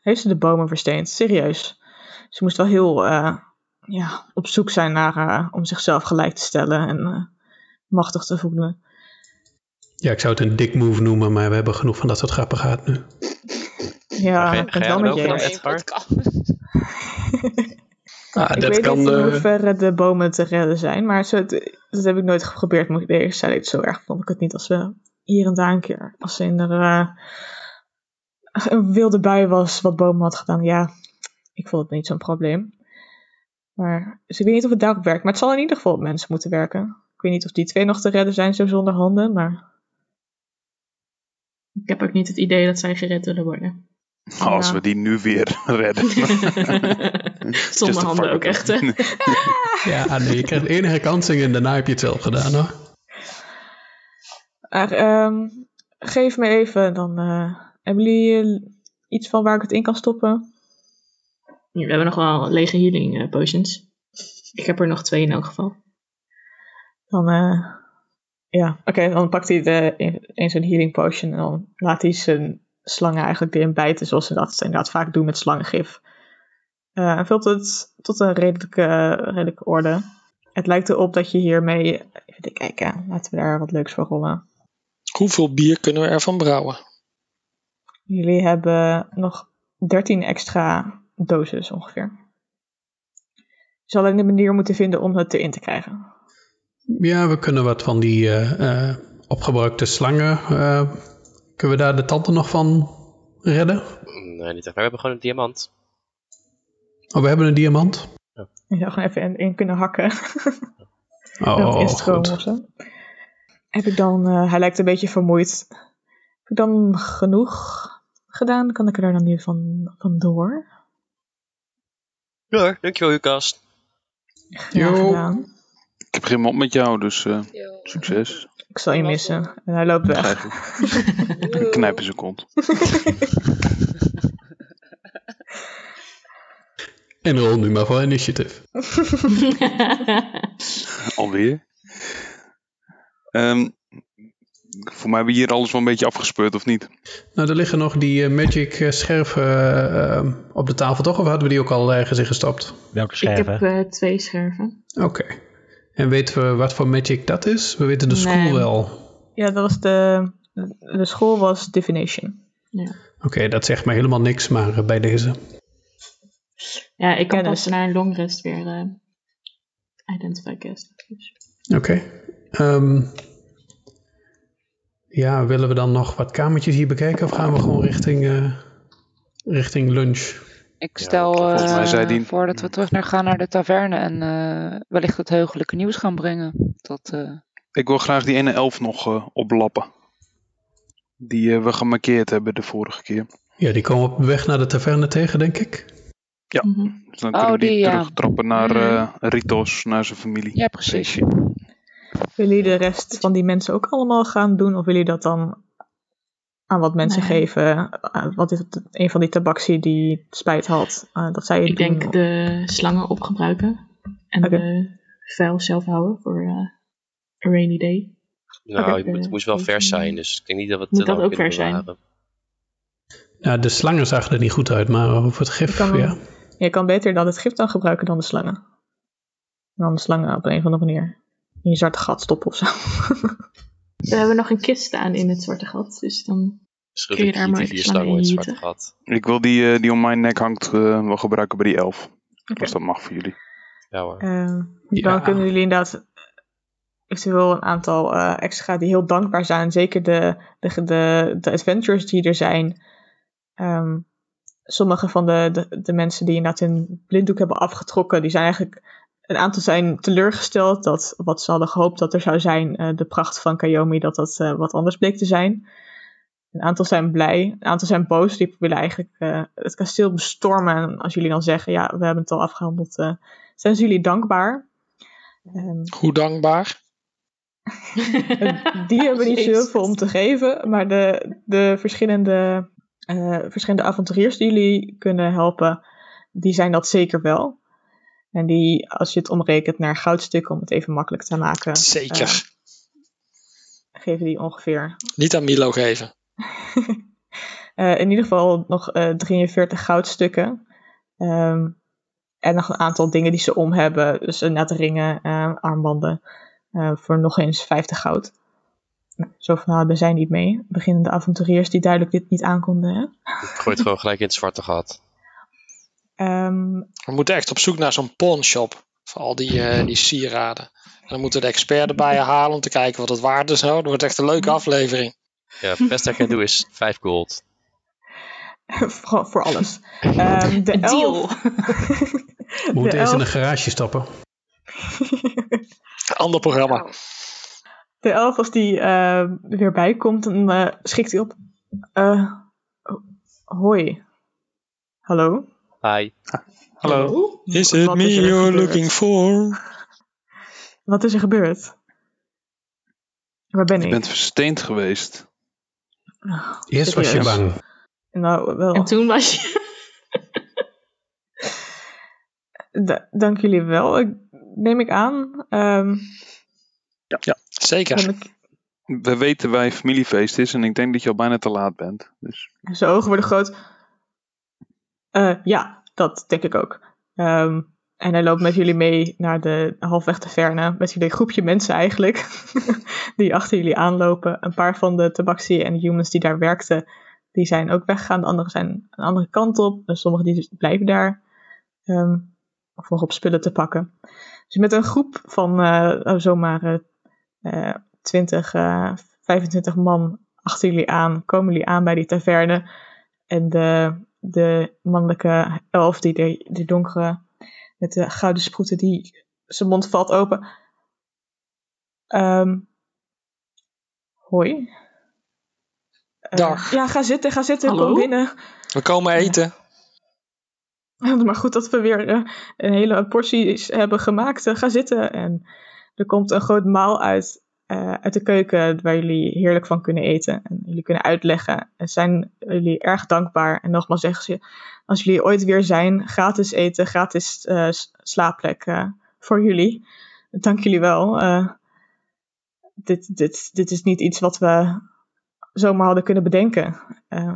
Speaker 1: Heeft ze de bomen versteend? Serieus. Ze moest wel heel eh, ja, op zoek zijn naar, eh, om zichzelf gelijk te stellen en eh, machtig te voelen.
Speaker 5: Ja, ik zou het een dik move noemen, maar we hebben genoeg van dat soort grappigheid nu.
Speaker 1: Ja,
Speaker 4: ga je-
Speaker 1: ik ben
Speaker 4: ga
Speaker 1: het
Speaker 4: jij
Speaker 1: wel met
Speaker 4: erover
Speaker 1: je
Speaker 4: dan,
Speaker 1: eens.
Speaker 4: Edgar?
Speaker 5: Ah,
Speaker 1: ik
Speaker 5: dat
Speaker 1: weet
Speaker 5: kan.
Speaker 1: niet in
Speaker 5: eh,
Speaker 1: hoeverre de bomen te redden zijn, maar zo, dat heb ik nooit geprobeerd, moet ik eerlijk zijn. Ik- Zo erg vond ik het niet als we hier en daar een keer, als in er eh, een wilde bui was wat bomen had gedaan. Ja, ik vond het niet zo'n probleem. Maar, dus ik weet niet of het daarop werkt, maar het zal in ieder geval op mensen moeten werken. Ik weet niet of die twee nog te redden zijn, zo zonder handen, maar
Speaker 3: Ik heb ook niet het idee dat zij gered willen worden.
Speaker 10: Als
Speaker 1: Ja.
Speaker 10: we die nu weer
Speaker 7: [LAUGHS]
Speaker 10: redden. Just
Speaker 3: Zonder
Speaker 10: to
Speaker 3: handen
Speaker 10: fuck
Speaker 3: ook
Speaker 10: with
Speaker 5: [LAUGHS]
Speaker 3: echt,
Speaker 1: [LAUGHS]
Speaker 10: them.
Speaker 3: hè?
Speaker 5: Ja, ah, nee, je krijgt één herkansing en daarna heb je het zelf gedaan hoor.
Speaker 1: Maar, ehm, geef me even, dan eh, hebben jullie eh, iets van waar ik het in kan stoppen?
Speaker 3: Nu, we hebben nog wel lege healing eh, potions. Ik heb er nog twee in elk geval.
Speaker 1: Dan, eh, ja, oké, dan pakt hij de, een- een zo'n healing potion en dan laat hij zijn slangen eigenlijk weer bijten, zoals ze dat inderdaad vaak doen met slangengif. Eh, en vult het tot een redelijke, redelijke orde. Het lijkt erop dat je hiermee, even kijken, laten we daar wat leuks voor rollen.
Speaker 8: Hoeveel bier kunnen we ervan brouwen?
Speaker 1: Jullie hebben nog 13 extra doses ongeveer. Je zal alleen een manier moeten vinden om het erin te krijgen.
Speaker 5: Ja, we kunnen wat van die eh, eh, opgebruikte slangen. eh, kunnen we daar de tanden nog van redden?
Speaker 4: Nee, niet echt. Maar we hebben gewoon een diamant.
Speaker 5: Oh, we hebben een diamant.
Speaker 1: Je zou gewoon even in, in kunnen hakken.
Speaker 5: Oh,
Speaker 1: [LAUGHS] Dat is stroom of
Speaker 5: goed.
Speaker 1: zo. Heb ik dan, eh, hij lijkt een beetje vermoeid. Heb ik dan genoeg gedaan? Kan ik er dan nu van, van door?
Speaker 4: Ja, dankjewel Lucas.
Speaker 1: Graag
Speaker 5: Jo.
Speaker 1: gedaan.
Speaker 10: Ik heb geen mond met jou, dus eh,
Speaker 11: Yo.
Speaker 10: succes.
Speaker 1: Ik zal je missen. En hij loopt weg.
Speaker 10: En knijp in zijn kont.
Speaker 5: En rol nu maar voor initiative.
Speaker 10: Alweer. Ehm,
Speaker 7: Voor mij hebben we hier alles wel een beetje afgespeurd, of niet?
Speaker 5: Nou, er liggen nog die eh, magic eh, scherven eh, op de tafel, toch? Of hadden we die ook al ergens in gestopt?
Speaker 9: Welke
Speaker 3: Ik heb eh, twee scherven.
Speaker 5: Oké. En weten we wat voor magic dat is? We weten de school
Speaker 3: Nee.
Speaker 5: wel.
Speaker 1: Ja, dat was de, de school was Divination.
Speaker 3: Ja,
Speaker 5: Oké, dat zegt me helemaal niks, maar eh, bij deze.
Speaker 3: ja ik kan dus-
Speaker 1: Kennis.
Speaker 3: pas na een long rest weer eh identify guest.
Speaker 5: Oké. Ehm, ja, willen we dan nog wat kamertjes hier bekijken? Of gaan we gewoon richting, eh, richting lunch?
Speaker 6: Ik stel
Speaker 7: volgens mij
Speaker 6: eh,
Speaker 7: zei die-
Speaker 6: voor dat we terug naar gaan naar de taverne en eh, wellicht het heugelijke nieuws gaan brengen. Dat, eh,
Speaker 7: Ik wil graag die ene elf nog eh, oplappen. Die eh, we gemarkeerd hebben de vorige keer.
Speaker 5: Ja, die komen op weg naar de taverne tegen, denk ik.
Speaker 7: Dus dan
Speaker 6: Oh,
Speaker 7: kunnen we die,
Speaker 6: die, ja.
Speaker 7: terugtrappen naar
Speaker 6: Mhm.
Speaker 7: eh, Ritos, naar zijn familie.
Speaker 6: ja, precies.
Speaker 1: Willen jullie de rest van die mensen ook allemaal gaan doen? Of willen jullie dat dan aan wat mensen
Speaker 3: Nee.
Speaker 1: geven? Aan Wat is het, een van die tabaksie die spijt had? eh, dat zij het
Speaker 3: Ik
Speaker 1: doen?
Speaker 3: denk de slangen opgebruiken en
Speaker 1: Oké.
Speaker 3: de vuil zelf houden voor eh, a rainy day.
Speaker 4: Nou,
Speaker 1: Oké,
Speaker 4: je moet- het
Speaker 3: eh,
Speaker 4: moest wel
Speaker 3: dus,
Speaker 4: vers
Speaker 3: eh,
Speaker 4: zijn, dus ik denk niet dat we het
Speaker 3: moet
Speaker 4: te lang
Speaker 3: dat ook
Speaker 4: kunnen
Speaker 3: vers zijn?
Speaker 4: bewaren.
Speaker 5: Nou, de slangen zagen er niet goed uit, maar over het gif,
Speaker 1: Ik kan-
Speaker 5: ja.
Speaker 1: Je kan beter dan het gif dan gebruiken dan de slangen. Dan de slangen op een of andere manier in je zwarte gat stoppen of zo. [LAUGHS]
Speaker 3: We hebben nog een kist staan in het zwarte gat, dus dan
Speaker 4: Schud
Speaker 3: Kun je
Speaker 4: ik
Speaker 3: daar
Speaker 4: niet
Speaker 3: maar
Speaker 4: die vier
Speaker 3: even slangen
Speaker 4: slangen in het
Speaker 3: in
Speaker 4: zwarte
Speaker 3: gieten?
Speaker 4: gat.
Speaker 7: Ik wil die eh, die om mijn nek hangt eh, wel gebruiken bij die elf. Als dat mag voor jullie.
Speaker 4: Ja hoor.
Speaker 1: Ehm,
Speaker 5: Ja.
Speaker 1: Dan kunnen jullie inderdaad eventueel een aantal eh, extra die heel dankbaar zijn. Zeker de, de, de, de adventures die er zijn. Ehm, sommige van de, de, de mensen die inderdaad hun blinddoek hebben afgetrokken, die zijn eigenlijk. Een aantal zijn teleurgesteld dat wat ze hadden gehoopt dat er zou zijn, eh, de pracht van Kayomi, dat dat eh, wat anders bleek te zijn. Een aantal zijn blij, een aantal zijn boos, die willen eigenlijk eh, het kasteel bestormen. En als jullie dan zeggen, ja, we hebben het al afgehandeld, eh, zijn ze jullie dankbaar. Ehm, Eh,
Speaker 8: Hoe dankbaar?
Speaker 1: die hebben niet
Speaker 3: Jezus.
Speaker 1: zoveel om te geven, maar de, de verschillende, eh, verschillende avonturiers die jullie kunnen helpen, die zijn dat zeker wel. En die, als je het omrekent naar goudstukken, om het even makkelijk te maken, eh,
Speaker 8: Zeker.
Speaker 1: geven die ongeveer.
Speaker 8: Niet aan Milo geven.
Speaker 1: eh, in ieder geval nog eh, 43 goudstukken. Ehm, en nog een aantal dingen die ze om hebben. Dus net ringen, eh, armbanden. eh, voor nog eens 50 goud. Nou, zo van, nou, we zijn niet mee. Beginnende avonturiers die duidelijk dit niet aankonden. Hè?
Speaker 4: Ik gooi het gewoon gelijk in het zwarte gat.
Speaker 1: Ehm,
Speaker 8: We moeten echt op zoek naar zo'n pawnshop. Voor al die, eh, die sieraden. En dan moeten we de expert erbij halen om te kijken wat het waard is. Nou, dat wordt echt een leuke aflevering.
Speaker 4: Ja, het beste dat ik kan doen is 5 gold.
Speaker 1: [LAUGHS] voor, voor alles. Ehm, de
Speaker 3: deal.
Speaker 1: elf. [LAUGHS]
Speaker 5: We moeten eerst in
Speaker 1: elf.
Speaker 5: een garage stappen.
Speaker 8: Ander programma.
Speaker 1: De elf, als die eh, weer bijkomt, dan eh, schikt hij op. Eh, oh, hoi. Hallo?
Speaker 4: Hi.
Speaker 8: Hallo. Is
Speaker 1: Wat
Speaker 8: it me
Speaker 1: er
Speaker 8: you're
Speaker 1: gebeurd?
Speaker 8: looking for?
Speaker 1: [LAUGHS] Wat is er gebeurd? Waar ben
Speaker 7: Je
Speaker 1: ik?
Speaker 7: bent versteend geweest.
Speaker 5: Eerst was je
Speaker 1: Serieus?
Speaker 5: bang.
Speaker 1: Nou, wel.
Speaker 3: En toen was je...
Speaker 1: [LAUGHS] Da- dank jullie wel. Ik, neem ik aan. Ehm,
Speaker 8: Zeker.
Speaker 1: ben ik-
Speaker 7: We weten waar je familiefeest is en ik denk dat je al bijna te laat bent. Dus
Speaker 1: zijn ogen worden groot. Eh, ja, dat denk ik ook. Ehm, en hij loopt met jullie mee naar de halfweg taverne. Met jullie groepje mensen eigenlijk. [LAUGHS] die achter jullie aanlopen. Een paar van de tabaxi en humans die daar werkten. Die zijn ook weggegaan. De anderen zijn een andere kant op. En sommigen die blijven daar. ehm, of nog op spullen te pakken. Dus met een groep van eh, oh, zomaar eh, eh 20, eh, 25 man achter jullie aan, komen jullie aan bij die taverne. En de, de mannelijke elf, die de, de donkere met de gouden sproeten, die zijn mond valt open. Ehm, hoi. Eh,
Speaker 8: Dag.
Speaker 1: ja, ga zitten, ga zitten,
Speaker 3: Hallo?
Speaker 1: kom binnen.
Speaker 8: We komen eten.
Speaker 1: [LAUGHS] Maar goed dat we weer eh, een hele portie s- hebben gemaakt. Eh, ga zitten. En er komt een groot maal uit, eh, uit de keuken waar jullie heerlijk van kunnen eten. En jullie kunnen uitleggen. En zijn jullie erg dankbaar. En nogmaals zeggen ze, als jullie ooit weer zijn, gratis eten, gratis eh, s- slaapplek eh, voor jullie. Dank jullie wel. eh. dit, dit, dit is niet iets wat we zomaar hadden kunnen bedenken. Eh,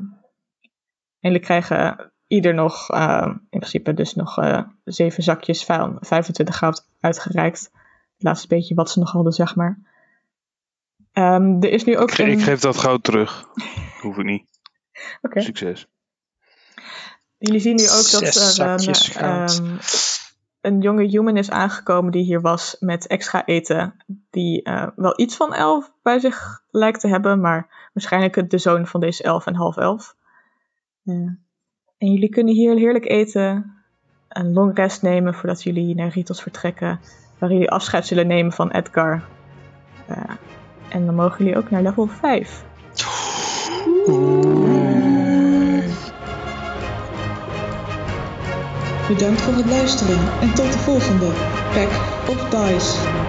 Speaker 1: en we krijgen ieder nog, eh, in principe dus nog eh, zeven zakjes vuil, 25 goud uitgereikt. Het laatste beetje wat ze nog hadden, zeg maar. Ehm, er is nu ook
Speaker 7: Ik, ge-
Speaker 1: een...
Speaker 7: ik geef dat goud terug. Hoef ik niet.
Speaker 1: Oké.
Speaker 7: Succes.
Speaker 1: Jullie zien nu ook dat
Speaker 8: Zes
Speaker 1: er een,
Speaker 8: zakjes goud.
Speaker 1: ehm, een jonge human is aangekomen die hier was met extra eten. Die eh, wel iets van elf bij zich lijkt te hebben, maar waarschijnlijk de zoon van deze elf en half elf. Ja. En jullie kunnen hier heerlijk eten, een long rest nemen voordat jullie naar Ritos vertrekken, waar jullie afscheid zullen nemen van Edgar. Eh, en dan mogen jullie ook naar level 5.
Speaker 12: Bedankt voor het luisteren en tot de volgende Pack of Dice.